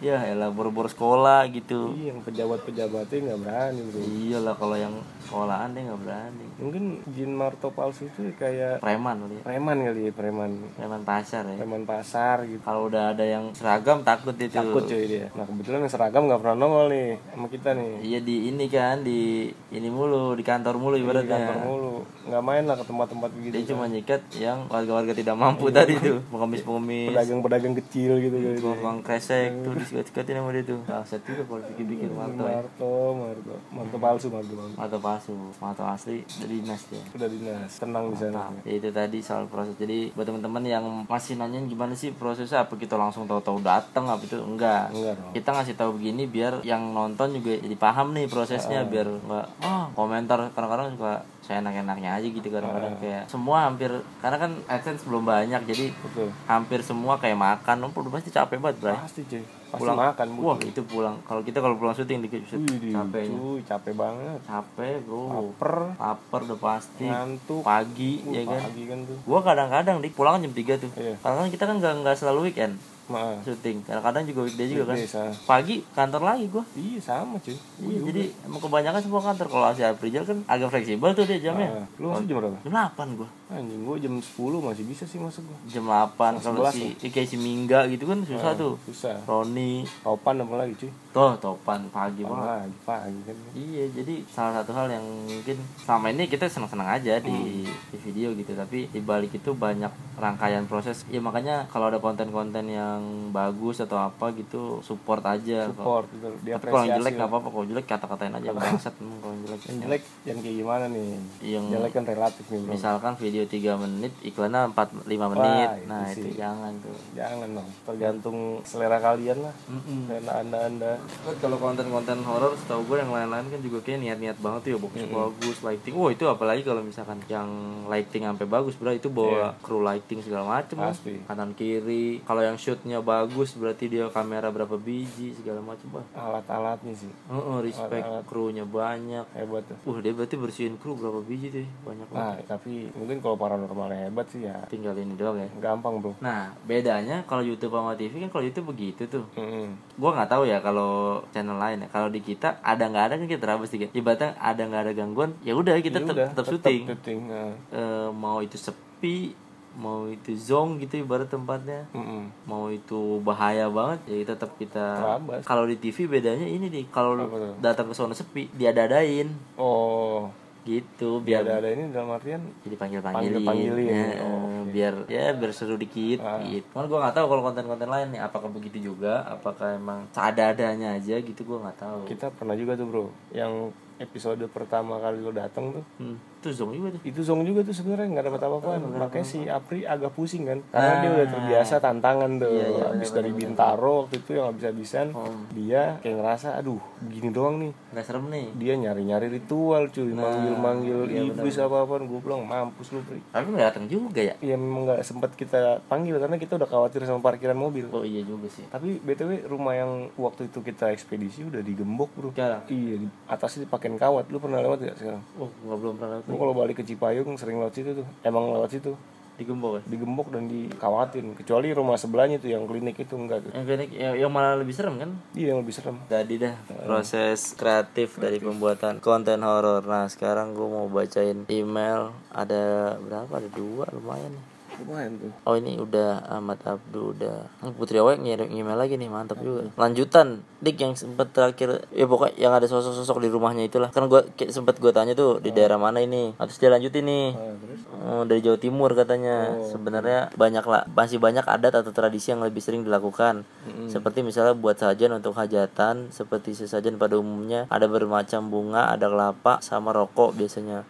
Speaker 1: ya elah bor-bor sekolah gitu
Speaker 2: Iya, yang pejabat-pejabatnya nggak berani bro.
Speaker 1: Iya lah kalau yang sekolahan dia nggak berani.
Speaker 2: Mungkin mungkin Jin Marto palsu itu kayak
Speaker 1: preman kali ya.
Speaker 2: preman kali ya preman
Speaker 1: preman pasar ya
Speaker 2: preman pasar gitu
Speaker 1: kalau udah ada yang seragam takut itu
Speaker 2: takut cuy dia nah kebetulan yang seragam nggak pernah nongol nih sama kita nih
Speaker 1: iya di ini kan di ini mulu di kantor mulu
Speaker 2: di Iya, kantor
Speaker 1: ibaratnya
Speaker 2: mulu nggak main lah ke tempat-tempat gitu. begitu
Speaker 1: dia cuma nyikat yang warga-warga tidak
Speaker 2: Iya.
Speaker 1: mampu tadi tuh pengemis-pengemis
Speaker 2: pedagang-pedagang kecil gitu
Speaker 1: Iya.
Speaker 2: kali dia.
Speaker 1: Bang
Speaker 2: Iya.
Speaker 1: kresek tuh disikat-sikatin sama dia tuh Bangsat juga kalau bikin-bikin Marto ya
Speaker 2: Marto Marto Marto palsu Marto palsu
Speaker 1: Marto palsu, Marto asli dari dinas dia
Speaker 2: udah dinas tenang di sana
Speaker 1: Nah, ya itu tadi soal proses. Jadi buat teman-teman yang masih nanyain gimana sih prosesnya apa kita langsung tahu-tahu datang apa itu enggak.
Speaker 2: enggak dong
Speaker 1: Kita ngasih tahu begini biar yang nonton juga jadi paham nih prosesnya biar enggak ah komentar kadang-kadang suka saya enak-enaknya aja gitu kadang-kadang kayak semua hampir karena kan AdSense belum banyak jadi
Speaker 2: betul
Speaker 1: hampir semua kayak makan lu udah pasti capek banget, Bray.
Speaker 2: pasti cuy pasti makan bu
Speaker 1: Wah, ya. itu pulang. Kalau kita kalau pulang syuting dikit
Speaker 2: Widih,
Speaker 1: capeknya.
Speaker 2: cuy capek banget
Speaker 1: Capek, Bro.
Speaker 2: per
Speaker 1: Lapar udah pasti.
Speaker 2: ngantuk
Speaker 1: Pagi ya kan.
Speaker 2: pagi kan tuh
Speaker 1: Gua kadang-kadang di pulang jam 3 tuh.
Speaker 2: Iya.
Speaker 1: Karena kan kita kan nggak nggak selalu weekend
Speaker 2: maaf
Speaker 1: syuting. Kadang-kadang juga weekday juga kan.
Speaker 2: desa
Speaker 1: Pagi kantor lagi gua.
Speaker 2: iya sama cuy
Speaker 1: Iya, jadi emang kebanyakan semua kantor kalau si Aprijal kan agak fleksibel tuh dia jamnya.
Speaker 2: Ah, lu masih jam berapa
Speaker 1: Jam 8 gua.
Speaker 2: anjing gua jam 10 masih bisa sih masuk gua
Speaker 1: Jam 8 kalau
Speaker 2: 11
Speaker 1: si kayak si Mingga gitu kan
Speaker 2: Ah.
Speaker 1: susah tuh.
Speaker 2: susah
Speaker 1: Roni,
Speaker 2: topan apa lagi cuy
Speaker 1: toh topan pagi banget.
Speaker 2: pagi pagi kan
Speaker 1: Iya, jadi salah satu hal yang mungkin selama ini kita senang-senang aja
Speaker 2: Hmm.
Speaker 1: di, di video gitu, tapi di balik itu banyak rangkaian proses. Ya makanya kalau ada konten-konten yang bagus atau apa gitu, support aja. Kalau-
Speaker 2: support gitu dia
Speaker 1: Tapi kalau yang jelek
Speaker 2: apresiasi
Speaker 1: nggak apa-apa, kalau jelek kata-katain aja bangsat emang kalau yang jelek.
Speaker 2: yang jelek yang kayak gimana nih
Speaker 1: Yang
Speaker 2: jelek kan relatif nih bro
Speaker 1: misalkan video 3 menit, iklannya 4 5 menit.
Speaker 2: itu
Speaker 1: nah, itu
Speaker 2: sih.
Speaker 1: jangan tuh.
Speaker 2: jangan dong tergantung selera kalian lah selera anda anda
Speaker 1: Terus kalau konten-konten horor setahu gue yang lain-lain kan juga kayak niat-niat banget tuh ya box bagus lighting wah itu apalagi kalau misalkan yang lighting sampai bagus berarti itu bawa kru lighting segala macem kan
Speaker 2: Iya. Pasti.
Speaker 1: kanan kiri kalau yang shootnya bagus berarti dia kamera berapa biji segala macem wah
Speaker 2: alat-alatnya sih
Speaker 1: Heeh, respect krunya banyak
Speaker 2: hebat tuh
Speaker 1: wah dia berarti bersihin kru berapa biji tuh banyak banget
Speaker 2: nah tapi mungkin kalau paranormalnya hebat sih ya
Speaker 1: tinggal ini doang ya
Speaker 2: gampang bro
Speaker 1: nah bedanya kalau YouTube sama TV kan kalau YouTube begitu tuh
Speaker 2: Mm-mm.
Speaker 1: gua nggak tahu ya kalau channel lain ya kalau di kita ada nggak ada kan kita terabas dikit ibaratnya ada nggak ada gangguan ya udah kita tetap
Speaker 2: Udah,
Speaker 1: tetap syuting
Speaker 2: syuting nah.
Speaker 1: Eh, mau itu sepi mau itu zong gitu ibarat tempatnya
Speaker 2: Mm-mm.
Speaker 1: mau itu bahaya banget ya tetap kita
Speaker 2: Terabas.
Speaker 1: kalau di TV bedanya ini nih kalau lu
Speaker 2: Apa tuh?
Speaker 1: datang ke zona sepi diadadain
Speaker 2: oh
Speaker 1: gitu biar
Speaker 2: ada ada ini dalam artian
Speaker 1: jadi panggil panggilin,
Speaker 2: Panggil-panggilin, Ah.
Speaker 1: biar ya biar seru dikit gitu. Cuman gue nggak tahu kalau konten-konten lain nih apakah begitu juga, apakah emang seada-adanya aja gitu gue nggak tahu.
Speaker 2: kita pernah juga tuh bro yang episode pertama kali lo datang tuh
Speaker 1: Hmm, itu zong juga tuh.
Speaker 2: itu zong juga tuh sebenarnya nggak dapat apa-apaan makanya si Apri agak pusing kan karena dia udah terbiasa tantangan tuh habis dari Bintaro waktu itu yang habis-habisan dia kayak ngerasa aduh begini doang nih
Speaker 1: Nggak serem nih.
Speaker 2: dia nyari-nyari ritual cuy manggil-manggil iblis apa-apaan gue bilang mampus lu Pri
Speaker 1: Tapi nggak datang juga ya.
Speaker 2: ya memang nggak sempet kita panggil karena kita udah khawatir sama parkiran mobil
Speaker 1: Oh iya juga sih.
Speaker 2: tapi btw rumah yang waktu itu kita ekspedisi udah digembok bro
Speaker 1: Sekarang.
Speaker 2: iya di- atasnya dipakein kawat lu pernah lewat gak sekarang
Speaker 1: Oh nggak belum pernah lewat
Speaker 2: Gue kalau balik ke Cipayung sering lewat situ tuh. Emang lewat situ.
Speaker 1: di gembok ya.
Speaker 2: Digembok dan dikawatin. Kecuali rumah sebelahnya tuh yang klinik itu enggak tuh.
Speaker 1: Yang klinik yang, yang malah lebih serem kan?
Speaker 2: Iya yang lebih serem.
Speaker 1: Tadi dah proses kreatif dari pembuatan konten horor. Nah sekarang gue mau bacain email ada berapa? Ada dua lumayan. nih.
Speaker 2: Lumayan tuh.
Speaker 1: Oh ini udah Ahmad Abdu udah Oh, Putri Awek ngirim email lagi nih mantap juga lanjutan Dik yang sempat terakhir ya pokoknya yang ada sosok-sosok di rumahnya itulah kan gua kayak sempat gua tanya tuh di daerah mana ini harus dia lanjutin nih
Speaker 2: iya. Ah,
Speaker 1: Oh, dari Jawa Timur katanya sebenarnya banyak lah masih banyak adat atau tradisi yang lebih sering dilakukan seperti misalnya buat sajian untuk hajatan seperti sesajen pada umumnya ada bermacam bunga ada kelapa sama rokok biasanya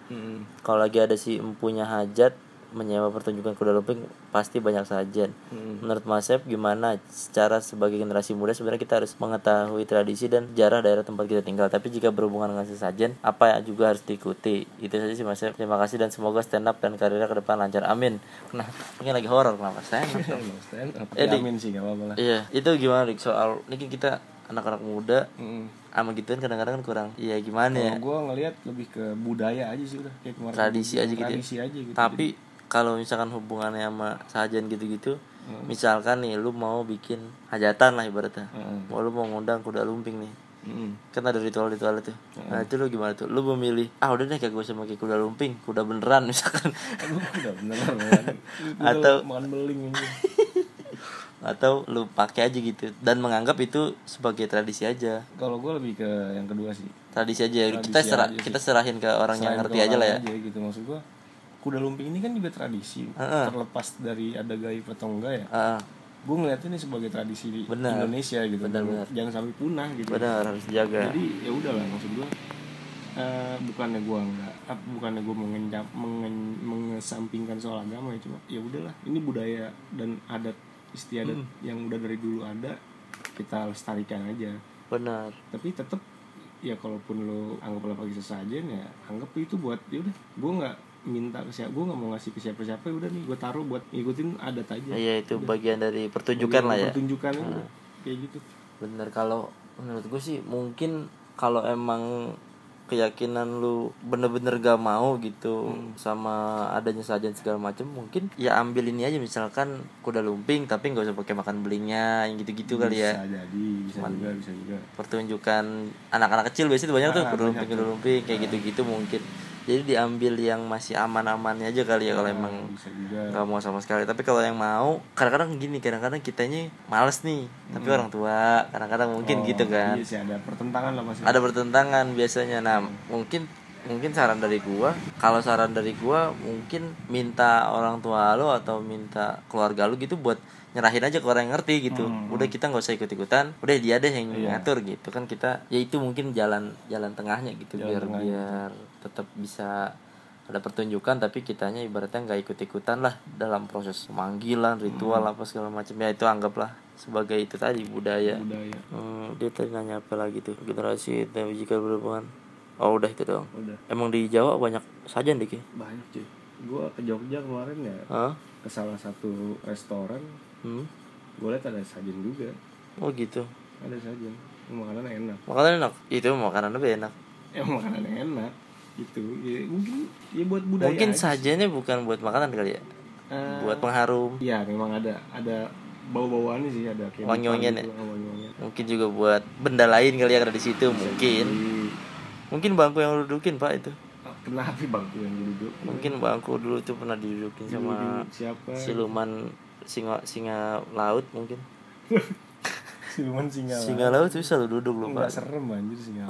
Speaker 1: kalau lagi ada si empunya hajat menyewa pertunjukan kuda lumping pasti banyak sajian. Menurut Mas Sep gimana secara sebagai generasi muda sebenarnya kita harus mengetahui tradisi dan sejarah daerah tempat kita tinggal. Tapi jika berhubungan dengan sesajen, apa yang juga harus diikuti? Itu saja sih Mas Sep. Terima kasih dan semoga stand up dan karirnya ke depan lancar. Amin. Nah, mungkin lagi horor kenapa stand up?
Speaker 2: Stand up.
Speaker 1: Eh, Dik.
Speaker 2: Jamin sih gak apa-apa lah.
Speaker 1: Iya, itu gimana Dik? soal ini kan kita anak-anak muda
Speaker 2: Mm-mm.
Speaker 1: sama gituan kadang-kadang kan kurang. Iya gimana ya?
Speaker 2: Hmm. Kalau gue ngelihat lebih ke budaya aja sih udah kayak kemarin.
Speaker 1: Tradisi aja gitu ya?
Speaker 2: Tradisi aja gitu.
Speaker 1: tapi kalau misalkan hubungannya sama sajian gitu-gitu misalkan nih lu mau bikin hajatan lah ibaratnya
Speaker 2: Heeh.
Speaker 1: Hmm. mau lu mau ngundang kuda lumping nih
Speaker 2: Mm-mm.
Speaker 1: kan ada ritual-ritual itu nah itu lu gimana tuh lu memilih ah udah deh kayak gue sama kayak kuda lumping kuda beneran misalkan
Speaker 2: Aduh, udah beneran man. Gua
Speaker 1: Atau-
Speaker 2: makan beling ini.
Speaker 1: atau lu pakai aja gitu dan menganggap itu sebagai tradisi aja
Speaker 2: Kalau gue lebih ke yang kedua sih.
Speaker 1: tradisi aja
Speaker 2: Tradisi
Speaker 1: kita serah
Speaker 2: aja sih.
Speaker 1: kita serahin ke orang yang
Speaker 2: Selain
Speaker 1: ngerti
Speaker 2: ke
Speaker 1: aja
Speaker 2: orang
Speaker 1: lah ya
Speaker 2: gitu maksud gue. Kuda lumping ini kan juga tradisi,
Speaker 1: Heeh.
Speaker 2: terlepas dari ada gaib atau enggak ya.
Speaker 1: Heeh.
Speaker 2: Gue ngeliatnya ini sebagai tradisi di
Speaker 1: Benar.
Speaker 2: Indonesia gitu.
Speaker 1: Benar, benar.
Speaker 2: Jangan sampai punah gitu.
Speaker 1: benar Iya, harus jaga
Speaker 2: jadi ya udahlah maksud gue eh, bukannya gue nggak ap- bukannya gue mengencap mengen, mengesampingkan soal agama ya cuma ya udahlah ini budaya dan adat istiadat
Speaker 1: Hmm.
Speaker 2: yang udah dari dulu ada kita lestarikan aja
Speaker 1: benar
Speaker 2: tapi tetap ya kalaupun lo anggaplah pakai sesajen ya anggap itu buat ya udah gue nggak minta ke siapa gue nggak mau ngasih ke siapa siapa ya udah nih gue taruh buat ngikutin adat aja
Speaker 1: iya itu bagian dari pertunjukan lah ya
Speaker 2: tunjukkan aja kayak gitu
Speaker 1: bener kalau menurut gue sih mungkin kalau emang keyakinan lu bener-bener gak mau gitu sama adanya sajian segala macem mungkin ya ambil ini aja misalkan kuda lumping tapi nggak usah pakai makan belingnya yang gitu-gitu kali ya
Speaker 2: bisa jadi bisa juga bisa juga
Speaker 1: pertunjukan anak-anak kecil biasanya itu banyak tuh Nah. kerumping kerumping kayak gitu-gitu mungkin jadi diambil yang masih aman-amannya aja kali ya kalau emang
Speaker 2: bisa juga
Speaker 1: nggak mau sama sekali tapi kalau yang mau kadang-kadang gini kadang-kadang kitanya males nih tapi orang tua kadang-kadang mungkin gitu kan
Speaker 2: Iya sih ada pertentangan lah pasti.
Speaker 1: ada bertentangan biasanya nah mungkin mungkin saran dari gua kalau saran dari gua mungkin minta orang tua lo atau minta keluarga lo gitu buat nyerahin aja ke orang yang ngerti gitu udah kita nggak usah ikut ikutan udah dia deh yang ngatur gitu kan kita ya itu mungkin jalan jalan tengahnya gitu biar biar tetap bisa ada pertunjukan tapi kitanya ibaratnya nggak ikut ikutan lah dalam proses pemanggilan ritual apa segala macam ya itu anggaplah sebagai itu tadi budaya
Speaker 2: budaya.
Speaker 1: Hmm, dia tadi nanya apa lagi tuh generasi dan jika berhubungan oh udah itu doang
Speaker 2: Udah
Speaker 1: emang di Jawa banyak sajian dik ya
Speaker 2: banyak cuy. Gua ke Jogja kemarin ya
Speaker 1: Hah?
Speaker 2: ke salah satu restoran
Speaker 1: Hmm?
Speaker 2: gue lihat ada sajen juga
Speaker 1: oh gitu
Speaker 2: ada sajen makanan enak
Speaker 1: makanan enak itu makanan lebih enak
Speaker 2: ya makanan enak gitu ya, mungkin ya buat budaya
Speaker 1: mungkin
Speaker 2: aja.
Speaker 1: sajiannya bukan buat makanan kali ya
Speaker 2: Eh,
Speaker 1: buat pengharum
Speaker 2: ya memang ada ada bau-bauannya sih ada kayak
Speaker 1: Wangi-wangian ya?
Speaker 2: depan gitu, wangi-wangian.
Speaker 1: mungkin juga buat benda lain kali ya ada di situ mungkin
Speaker 2: Jadi,
Speaker 1: mungkin bangku yang lu dudukin pak itu
Speaker 2: ah, kenapa bangku yang duduk
Speaker 1: mungkin bangku dulu tuh pernah didudukin sama
Speaker 2: siapa
Speaker 1: siluman singa singa laut mungkin
Speaker 2: siluman singa
Speaker 1: singa laut Iya. tuh selalu duduk lu
Speaker 2: nggak
Speaker 1: pak
Speaker 2: serem anjir singa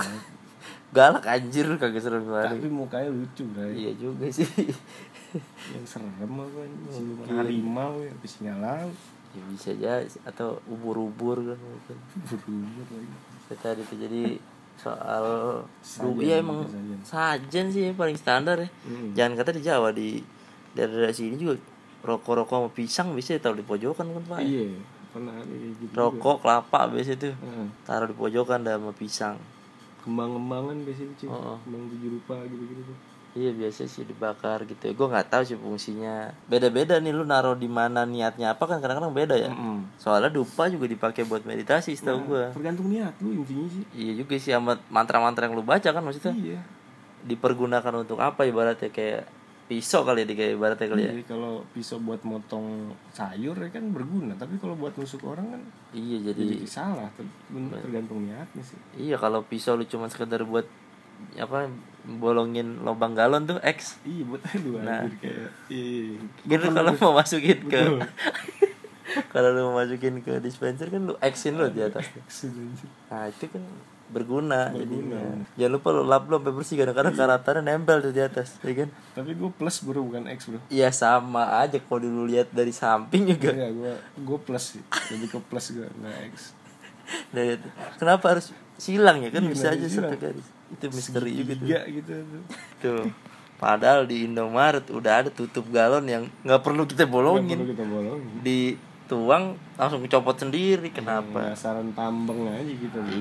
Speaker 1: galak anjir kagak serem banget
Speaker 2: tapi mukanya lucu bray
Speaker 1: Iya juga sih.
Speaker 2: yang serem apa ini siluman harimau ya habis laut
Speaker 1: ya bisa aja atau ubur-ubur kan mungkin.
Speaker 2: berumur lagi
Speaker 1: Ya, Tadi itu jadi soal
Speaker 2: Sajen,
Speaker 1: Iya emang
Speaker 2: sajen.
Speaker 1: sajen sih yang paling standar ya.
Speaker 2: Mm.
Speaker 1: Jangan kata di Jawa di daerah sini juga rokok-rokok sama pisang bisa taruh di pojokan kan Pak.
Speaker 2: iya pernah ada kayak gitu juga.
Speaker 1: Rokok kelapa biasa tuh
Speaker 2: Heeh.
Speaker 1: taruh di pojokan dah sama pisang.
Speaker 2: kembang-kembangan biasanya cuy
Speaker 1: Heeh.
Speaker 2: kembang tujuh rupa gitu-gitu tuh
Speaker 1: Iya biasa sih dibakar gitu ya. Gue nggak tahu sih fungsinya. Beda-beda nih lu naruh di mana niatnya apa kan kadang-kadang beda ya. Soalnya dupa juga dipakai buat meditasi setahu gua.
Speaker 2: Nah, tergantung niat lu intinya sih
Speaker 1: Iya juga sih sama mantra-mantra yang lu baca kan maksudnya
Speaker 2: iya
Speaker 1: dipergunakan untuk apa ibaratnya kayak pisau kali ya Dik, kayak ibaratnya kali ya.
Speaker 2: jadi kalau pisau buat motong sayur ya kan berguna tapi kalau buat nusuk orang kan
Speaker 1: Iya jadi
Speaker 2: jadi salah Ter- men- tergantung niatnya sih
Speaker 1: iya kalau pisau lu cuma sekedar buat apa bolongin lubang galon tuh X.
Speaker 2: iya buat aduh
Speaker 1: Nah.
Speaker 2: anjir kayak iya
Speaker 1: Gitu kalau mau masukin ke kalau lu mau masukin ke dispenser kan lu X-in lu di atas.
Speaker 2: Anjir.
Speaker 1: Nah, itu kan berguna, jadinya. Jangan lupa lu lap lu sampai bersih kadang-kadang karatannya nempel tuh di atas, ya kan?
Speaker 2: tapi gue plus bro bukan X bro
Speaker 1: Iya sama aja kalau dulu lihat dari samping juga
Speaker 2: Enggak, gue gue Iya, plus sih. Lebih ke plus gue nggak X.
Speaker 1: Dari Nah, itu. Kenapa harus silang ya kan
Speaker 2: Iya,
Speaker 1: bisa
Speaker 2: dari
Speaker 1: aja
Speaker 2: silang.
Speaker 1: satu garis. Itu misteri juga tuh.
Speaker 2: Tiga gitu. tuh.
Speaker 1: Tuh. Padahal di Indomaret udah ada tutup galon yang nggak perlu kita
Speaker 2: Perlu
Speaker 1: bolongin.
Speaker 2: kita bolongin.
Speaker 1: Di tuang langsung copot sendiri kenapa?
Speaker 2: Penasaran tambeng aja gitu bro.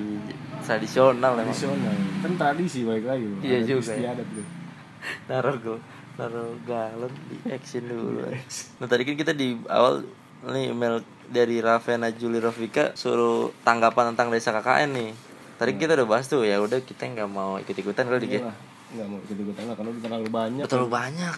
Speaker 1: Tradisional emang.
Speaker 2: Tradisional. Kan tradisi baik lagi. Bro.
Speaker 1: Iya
Speaker 2: Adat
Speaker 1: juga
Speaker 2: Istiadat bro.
Speaker 1: Naruh gue naruh galon di action dulu. Nah tadi kan kita di awal nih email dari Ravena Juli Rafika suruh tanggapan tentang desa KKN nih. Tadi kita udah bahas tuh ya udah kita nggak mau ikut ikutan kali Dik, ya.
Speaker 2: Wah, nggak mau ikut ikutan lah karena udah terlalu banyak.
Speaker 1: Betul Hmm. banyak.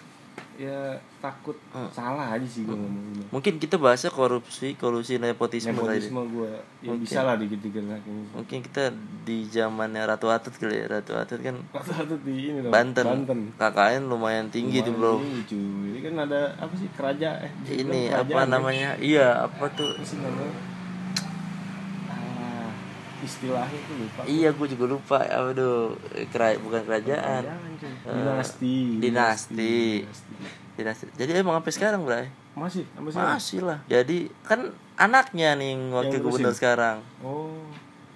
Speaker 2: ya takut salah aja sih gue ngomongnya
Speaker 1: Mungkin kita bahasnya korupsi, kolusi, nepotisme, tadi.
Speaker 2: nepotisme gue ya bisa lah dikit-dikit lah gitu. kayaknya.
Speaker 1: Mungkin kita di zamannya Ratu Atut kali ya. Ratu Atut kan
Speaker 2: satu di ini dong.
Speaker 1: Banten.
Speaker 2: Iya, Banten.
Speaker 1: KKN lumayan tinggi tuh, Bro.
Speaker 2: Ini cuy. Ini kan ada apa sih kerajaan eh
Speaker 1: Ini
Speaker 2: kerajaan,
Speaker 1: apa
Speaker 2: ya?
Speaker 1: namanya? Iya, apa tuh?
Speaker 2: Apa sih namanya? Ah, istilahnya tuh lupa.
Speaker 1: Iya, gue juga lupa. Aduh, kera bukan kerajaan.
Speaker 2: Jangan cuy. Iya, Dinasti.
Speaker 1: Eh, Dinasti.
Speaker 2: Dinasti.
Speaker 1: Dinasti. Jadi emang sampai sekarang, Bray?
Speaker 2: Masih, sampai sekarang.
Speaker 1: Masih lah. Jadi kan anaknya nih wakil
Speaker 2: Yang
Speaker 1: gubernur sekarang.
Speaker 2: Oh.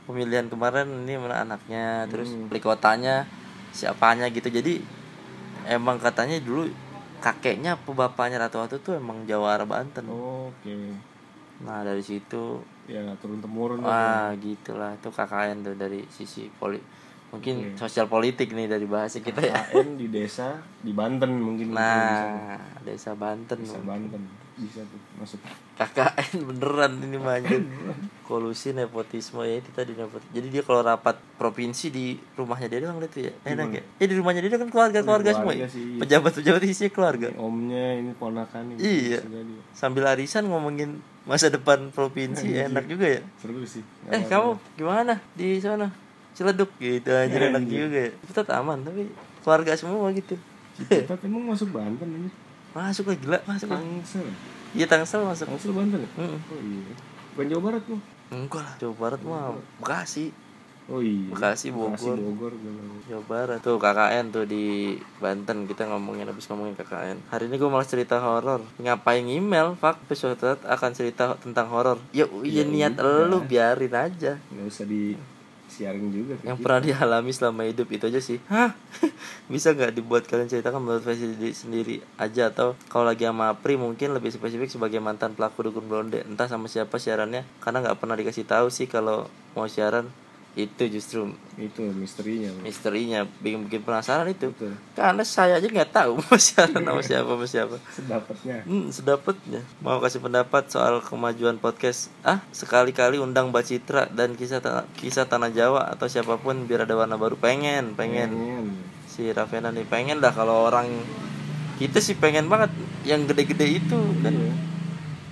Speaker 1: Pemilihan kemarin ini mana anaknya, terus wali kotanya siapanya gitu. Jadi emang katanya dulu kakeknya apa bapaknya Ratu Atut tuh emang Jawara
Speaker 2: Oh.
Speaker 1: Banten.
Speaker 2: Oke.
Speaker 1: Nah, dari situ
Speaker 2: Ya turun temurun.
Speaker 1: Wah,
Speaker 2: lah.
Speaker 1: gitulah itu KKN tuh dari sisi poli mungkin sosial politik nih dari bahasa kita ya.
Speaker 2: KKN di desa di Banten mungkin.
Speaker 1: Nah, desa Banten.
Speaker 2: Desa Banten bisa tuh masuk.
Speaker 1: KKN beneran ini mah anjir. Kolusi nepotisme ya itu tadi nepotisme. Jadi dia kalau rapat provinsi di rumahnya dia doang itu ya. Enak ya? Ya di rumahnya dia kan keluarga-keluarga semua. ya.
Speaker 2: keluarga sih, iya.
Speaker 1: Pejabat-pejabat isinya keluarga.
Speaker 2: Omnya ini ponakan ini.
Speaker 1: Iya.
Speaker 2: Sudah dia.
Speaker 1: Sambil arisan ngomongin masa depan provinsi enak juga ya.
Speaker 2: Seru sih.
Speaker 1: Eh kamu gimana di sana? Celeduk gitu aja enak juga ya. Kita taman tapi keluarga semua gitu.
Speaker 2: Ciputat emang masuk Banten ini?
Speaker 1: Masuk lah gila, masuk lah.
Speaker 2: Tangsel.
Speaker 1: Iya Tangsel masuk.
Speaker 2: Tangsel Banten ya?
Speaker 1: Mm-mm.
Speaker 2: Oh iya. Bukan Jawa Barat tuh.
Speaker 1: Enggak lah, Jawa Barat mah Bekasi.
Speaker 2: Oh iya.
Speaker 1: Bekasi, Bogor.
Speaker 2: Bekasi Bogor. Bogor.
Speaker 1: Jawa Barat tuh KKN tuh di Banten kita ngomongin habis ngomongin KKN hari ini gue malah cerita horor ngapain email Pak episode akan cerita tentang horor ya, ya niat elu biarin aja
Speaker 2: Nggak usah disiarin juga.
Speaker 1: yang pernah dialami selama hidup itu aja sih Hah? bisa nggak dibuat kalian ceritakan menurut versi diri sendiri aja atau kalau lagi sama Apri mungkin lebih spesifik sebagai mantan pelaku dukun blonde entah sama siapa siarannya karena nggak pernah dikasih tahu sih kalau mau siaran itu justru
Speaker 2: Itu misterinya. Bro.
Speaker 1: misterinya bikin bikin penasaran itu
Speaker 2: Betul.
Speaker 1: karena saya aja nggak tahu mau siaran sama siapa sama siapa
Speaker 2: Sedapatnya.
Speaker 1: Hmm, sedapatnya. Mau kasih pendapat soal kemajuan podcast? Ah, sekali-kali undang Mbak Citra dan kisah tanah, kisah tanah Jawa atau siapapun biar ada warna baru. Pengen, pengen.
Speaker 2: Pengen.
Speaker 1: Si Ravena nih pengen lah kalau orang kita sih pengen banget yang gede-gede itu kan.
Speaker 2: Iya.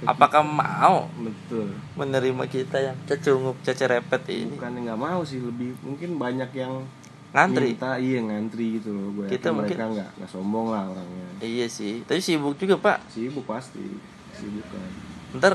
Speaker 1: Apakah mau
Speaker 2: Betul.
Speaker 1: menerima kita yang cecunguk cecerepet ini?
Speaker 2: Bukan nggak mau sih lebih mungkin banyak yang
Speaker 1: Ngantri.
Speaker 2: minta iya ngantri gitu loh gue
Speaker 1: Kita
Speaker 2: yakin mereka nggak nggak sombong lah orangnya
Speaker 1: Iya sih. Tapi sibuk juga, Pak.
Speaker 2: sibuk pasti sibuk kan
Speaker 1: ntar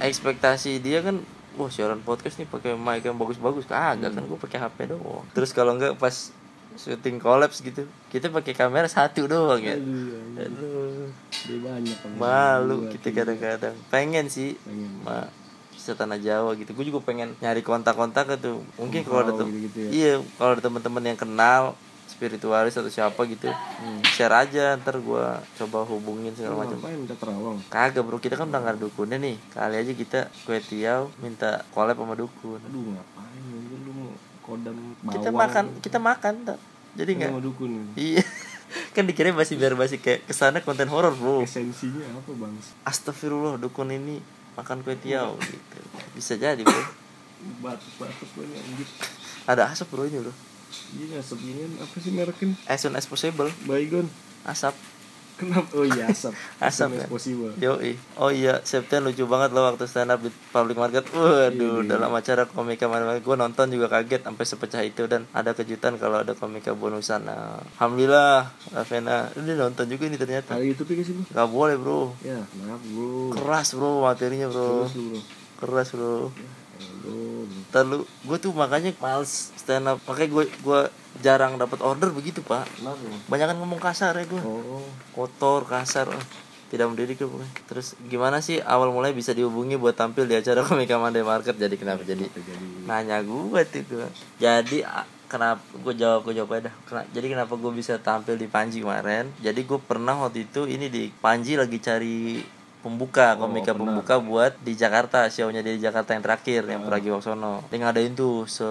Speaker 1: ekspektasi dia kan wah siaran podcast nih pakai mic yang bagus-bagus kagak kan gue pakai HP doang terus kalau enggak pas syuting collapse gitu kita pakai kamera satu doang ya
Speaker 2: Aduh,
Speaker 1: Aduh,
Speaker 2: dia banyak kan
Speaker 1: malu kita kadang-kadang pengen sih
Speaker 2: pengen
Speaker 1: ma bisa tanah Jawa gitu gue juga pengen nyari kontak-kontak tuh mungkin kalau ada
Speaker 2: Wow,
Speaker 1: tem-
Speaker 2: gitu-gitu ya.
Speaker 1: iya kalau ada teman-teman yang kenal spiritualis atau siapa gitu
Speaker 2: Hmm.
Speaker 1: share aja ntar gue coba hubungin
Speaker 2: Oh,
Speaker 1: segala macam
Speaker 2: ngapain minta terawang
Speaker 1: Kagak bro, kita kan udah nggak ada dukunnya nih Kali aja kita kue tiaw minta collab sama dukun
Speaker 2: aduh ngapain anjir lu mau kodam bawang
Speaker 1: Kita makan, kita makan tak. Jadi nggak?
Speaker 2: sama dukun
Speaker 1: Iya Kan dikira masih biar masih kayak kesana konten horor bro
Speaker 2: esensinya apa bang
Speaker 1: Astagfirullah dukun ini makan kue tiaw
Speaker 2: Iya.
Speaker 1: gitu Bisa jadi bro
Speaker 2: batuk batuk banget anjir
Speaker 1: Ada asap bro ini bro
Speaker 2: iya sebelumnya apa sih merekin
Speaker 1: As soon as possible
Speaker 2: baygon
Speaker 1: Asap
Speaker 2: kenapa oh iya asap
Speaker 1: Asap,
Speaker 2: As soon as
Speaker 1: ya?
Speaker 2: possible
Speaker 1: Yoi. Oh iya, Septian lucu banget loh waktu stand up di public market.
Speaker 2: Iya,
Speaker 1: Waduh, dalam acara komika mana gue nonton juga kaget sampai sepecah itu dan ada kejutan kalau ada komika bonusan. Nah, Alhamdulillah, Ravena, ini nonton juga ini ternyata.
Speaker 2: hari itu tuh sih lu
Speaker 1: Gak boleh bro,
Speaker 2: ya maaf bro
Speaker 1: keras bro materinya bro,
Speaker 2: terus lu bro
Speaker 1: keras bro.
Speaker 2: Ya, lu bro.
Speaker 1: Ntar lu, gue tuh makanya males stand up, makanya gue gua jarang dapat order begitu pak.
Speaker 2: kenapa Bang?
Speaker 1: Banyak ngomong kasar ya gue.
Speaker 2: oh
Speaker 1: kotor kasar ah, tidak mendidik ya pokoknya. terus gimana sih awal mulai bisa dihubungi buat tampil di acara Komika Monday Market jadi kenapa jadi
Speaker 2: jadi
Speaker 1: nanya gue tuh gua. jadi ah, kenapa gue jawab gue jawab aja dah. Kena- jadi kenapa gue bisa tampil di Panji kemarin jadi gue pernah waktu itu ini di Panji lagi cari pembuka komika pembuka buat di Jakarta shownya dia di Jakarta yang terakhir yang Pragiwaksono dia ngadain tuh se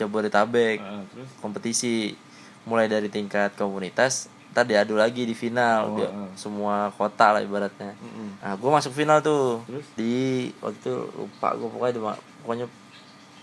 Speaker 1: Jabodetabek
Speaker 2: Ah, terus
Speaker 1: kompetisi mulai dari tingkat komunitas ntar diadu lagi di final Dia- semua kota lah ibaratnya nah gue masuk final tuh
Speaker 2: Terus?
Speaker 1: di waktu itu lupa gue pokoknya di ma- pokoknya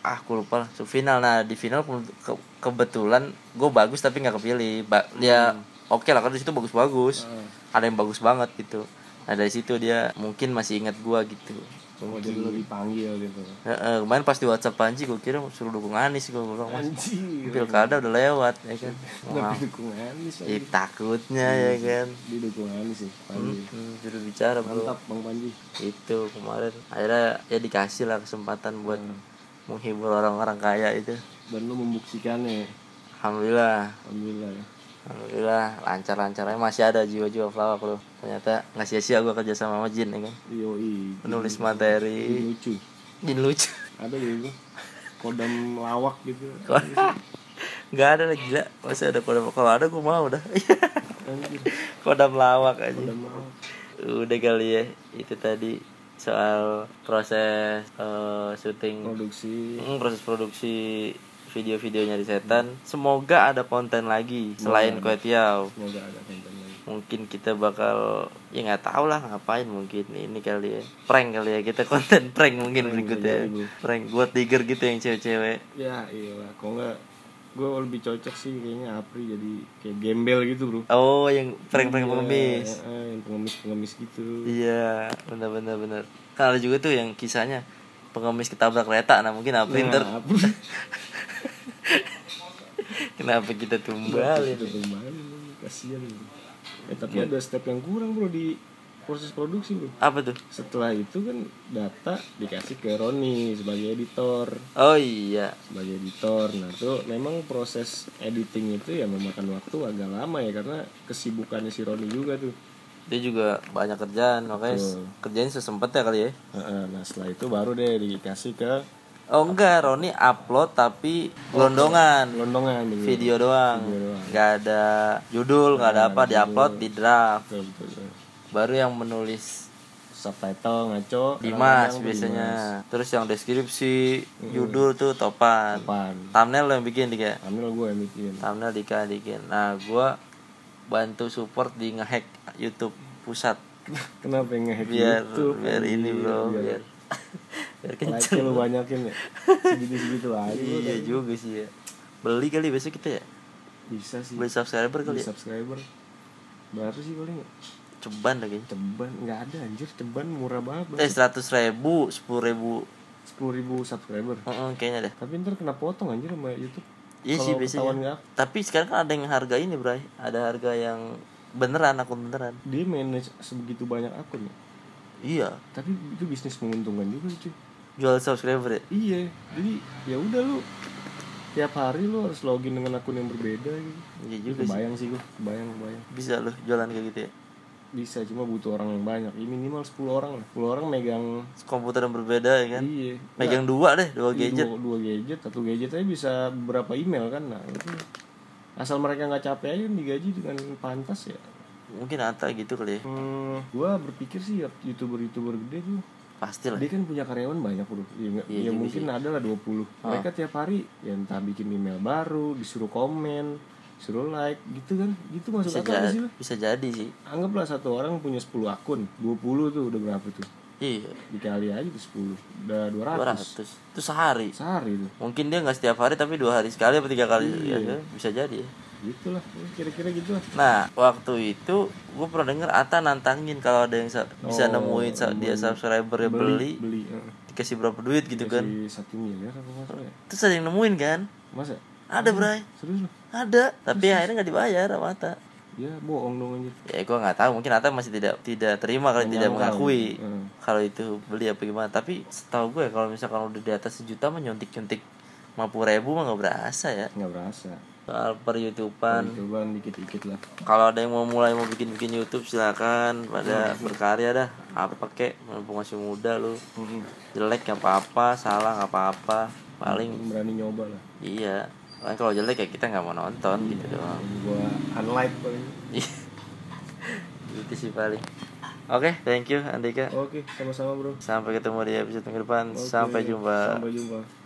Speaker 1: ah gue lupa lah Masuk final nah di final ke- ke- kebetulan gue bagus tapi nggak kepilih ba- ya oke lah karena di situ bagus-bagus ada yang bagus banget gitu nah dari situ dia mungkin masih ingat gua gitu
Speaker 2: Cuma jadi lo dipanggil gitu.
Speaker 1: Eh, eh, kemarin pas di WhatsApp Panji gua kira suruh dukung Anies gua bilang mas
Speaker 2: Anjir.
Speaker 1: pilkada udah lewat ya kan
Speaker 2: Tapi Hmm.
Speaker 1: Wah,
Speaker 2: dukungan sih.
Speaker 1: ih, takutnya ya kan
Speaker 2: Di dukungan sih. Panji.
Speaker 1: Hmm, juru bicara bro
Speaker 2: Iya. Mantap Bang Panji.
Speaker 1: itu kemarin akhirnya ya dikasih lah kesempatan buat
Speaker 2: Hmm.
Speaker 1: menghibur orang-orang kaya itu
Speaker 2: Dan lo membuktikannya.
Speaker 1: alhamdulillah
Speaker 2: Alhamdulillah ya.
Speaker 1: alhamdulillah lancar-lancar aja masih ada jiwa-jiwa pelawak lo ternyata nggak sia-sia gue kerja sama sama Jin ya kan
Speaker 2: Yoi.
Speaker 1: penulis
Speaker 2: Hmm.
Speaker 1: materi
Speaker 2: Lucu.
Speaker 1: Jin lucu
Speaker 2: Ada gitu. Kodam lawak gitu.
Speaker 1: nggak ada lagi gila masih ada kodam kalau ada gue mau dah
Speaker 2: Anjir.
Speaker 1: kodam lawak aja
Speaker 2: Kodam lawak.
Speaker 1: udah kali ya itu tadi soal proses eh, syuting
Speaker 2: Produksi.
Speaker 1: Hmm, proses produksi video-videonya di setan. Semoga ada konten lagi selain kue tiaw.
Speaker 2: Semoga ada konten lagi.
Speaker 1: Mungkin kita bakal ya nggak tahu lah ngapain mungkin ini kali ya prank kali ya kita konten prank mungkin berikutnya
Speaker 2: bisa jadi,
Speaker 1: prank buat tiger gitu yang cewek-cewek
Speaker 2: Ya iya lah. Kalau nggak gue lebih cocok sih kayaknya Apri jadi kayak gembel gitu bro.
Speaker 1: oh yang prank-prank
Speaker 2: Iya,
Speaker 1: pengemis
Speaker 2: eh, eh, yang pengemis pengemis gitu.
Speaker 1: iya benar-benar benar kan ada juga tuh yang kisahnya pengemis ketabrak kereta nah mungkin apa
Speaker 2: Nah,
Speaker 1: ntar
Speaker 2: Apri.
Speaker 1: kenapa kita
Speaker 2: Balik
Speaker 1: tumbalin
Speaker 2: itu kembali kasihan bro. Eh tapi ada step yang kurang bro di proses produksi bro.
Speaker 1: apa tuh
Speaker 2: Setelah itu kan data dikasih ke Roni sebagai editor,
Speaker 1: oh iya
Speaker 2: sebagai editor. Nah itu memang proses editing itu ya memakan waktu agak lama ya karena kesibukannya si Roni juga tuh.
Speaker 1: dia juga banyak kerjaan makanya
Speaker 2: Betul.
Speaker 1: kerjain sesempet ya kali ya
Speaker 2: Heeh, Nah setelah itu baru deh dikasih ke
Speaker 1: oh enggak Roni upload tapi gelondongan
Speaker 2: londongan gitu.
Speaker 1: Iya. video doang
Speaker 2: Video doang.
Speaker 1: nggak ada judul nggak ada apa diupload di draft
Speaker 2: Betul, betul, betul.
Speaker 1: baru yang menulis
Speaker 2: Subtitle ngaco.
Speaker 1: Dimas
Speaker 2: kadang-kadang
Speaker 1: biasanya terus yang deskripsi judul tuh Iya. topan
Speaker 2: Apaan?
Speaker 1: thumbnail lo yang bikin dika
Speaker 2: Ambil gue yang bikin.
Speaker 1: thumbnail dika yang bikin nah gua bantu support di ngehack YouTube pusat
Speaker 2: Kenapa yang ngehack
Speaker 1: biar
Speaker 2: YouTube?
Speaker 1: biar ini Iya,
Speaker 2: Iya.
Speaker 1: bro biar biar kenceng
Speaker 2: Like lu banyakin ya. Segitu-segitu aja.
Speaker 1: Iya juga sih ya. Beli kali besok kita ya.
Speaker 2: Iya. Bisa sih.
Speaker 1: Beli subscriber
Speaker 2: Beli
Speaker 1: kali ya.
Speaker 2: subscriber. Berapa sih paling?
Speaker 1: Ceban lagi.
Speaker 2: Ceban nggak ada anjir, ceban murah banget.
Speaker 1: Eh seratus ribu, sepuluh ribu,
Speaker 2: Sepuluh ribu subscriber.
Speaker 1: Mm-mm, kayaknya deh.
Speaker 2: Tapi ntar kena potong anjir sama YouTube.
Speaker 1: Iya sih
Speaker 2: Kalau ketahuan
Speaker 1: biasanya.
Speaker 2: nggak,
Speaker 1: Tapi sekarang kan ada yang harga ini bray. Ada harga yang beneran akun beneran.
Speaker 2: dia manage sebegitu banyak akun ya.
Speaker 1: Iya.
Speaker 2: Tapi itu bisnis menguntungkan juga cuy.
Speaker 1: Jual subscriber ya.
Speaker 2: Iya, jadi ya udah lu tiap hari lu harus login dengan akun yang berbeda gitu.
Speaker 1: Iya juga sih.
Speaker 2: Kebayang sih gue, kebayang, kebayang.
Speaker 1: Bisa loh jualan kayak gitu ya.
Speaker 2: Bisa cuma butuh orang yang banyak. Ini minimal 10 orang lah. 10 orang megang
Speaker 1: Komputer yang berbeda ya kan.
Speaker 2: iya.
Speaker 1: Megang dua deh, dua gadget.
Speaker 2: Dua, dua gadget, satu gadget aja bisa berapa email kan. Nah, itu asal mereka nggak capek aja digaji dengan pantas ya.
Speaker 1: Mungkin Ata gitu kali ya.
Speaker 2: Hmm, gua berpikir sih ya, youtuber-youtuber gede tuh
Speaker 1: Pasti lah. Iya,
Speaker 2: dia kan punya karyawan banyak bro ya, nggak- ya mungkin ada lah 20
Speaker 1: Ah.
Speaker 2: mereka tiap hari ya entah bikin email baru disuruh komen suruh like gitu kan gitu masuk akal nggak sih lo?
Speaker 1: Bisa jadi sih.
Speaker 2: anggaplah satu orang punya 10 akun 20 tuh udah berapa tuh
Speaker 1: Iya.
Speaker 2: dikali aja tuh 10 udah 200
Speaker 1: 200. Itu sehari.
Speaker 2: sehari tuh
Speaker 1: mungkin dia nggak setiap hari tapi dua hari sekali atau tiga kali ya, bisa jadi ya.
Speaker 2: gitulah kira-kira gitulah
Speaker 1: nah waktu itu gue pernah denger Ata nantangin kalau ada yang sa- bisa nemuin sa- dia subscriber yang beli,
Speaker 2: Oh, beli eh,
Speaker 1: dikasih berapa duit gitu kan
Speaker 2: di satu miliar apa nggak salah ya
Speaker 1: terus ada yang nemuin kan
Speaker 2: masa
Speaker 1: ada bray
Speaker 2: serius loh
Speaker 1: ada tapi akhirnya nggak dibayar sama Ata
Speaker 2: ya bohong dong anjir
Speaker 1: ya gue nggak tahu mungkin Ata masih tidak tidak terima kalau tidak mengakui
Speaker 2: Hmm.
Speaker 1: kalau itu beli apa gimana tapi setahu gue kalau misalkan udah di atas sejuta mah nyuntik nyuntik 50 ribu mah nggak berasa ya
Speaker 2: nggak berasa
Speaker 1: soal per YouTubean
Speaker 2: cobaan dikit-dikit lah
Speaker 1: kalau ada yang mau mulai mau bikin bikin YouTube silakan pada berkarya dah apa kek mumpung masih muda lu jelek nggak apa apa salah nggak apa apa paling
Speaker 2: berani nyoba lah
Speaker 1: iya paling kalau jelek ya kita nggak mau nonton gitu doang
Speaker 2: gua unlike paling
Speaker 1: itu Gitu sih paling oke thank you Andika
Speaker 2: oke sama-sama bro
Speaker 1: sampai ketemu di episode minggu depan sampai jumpa
Speaker 2: sampai jumpa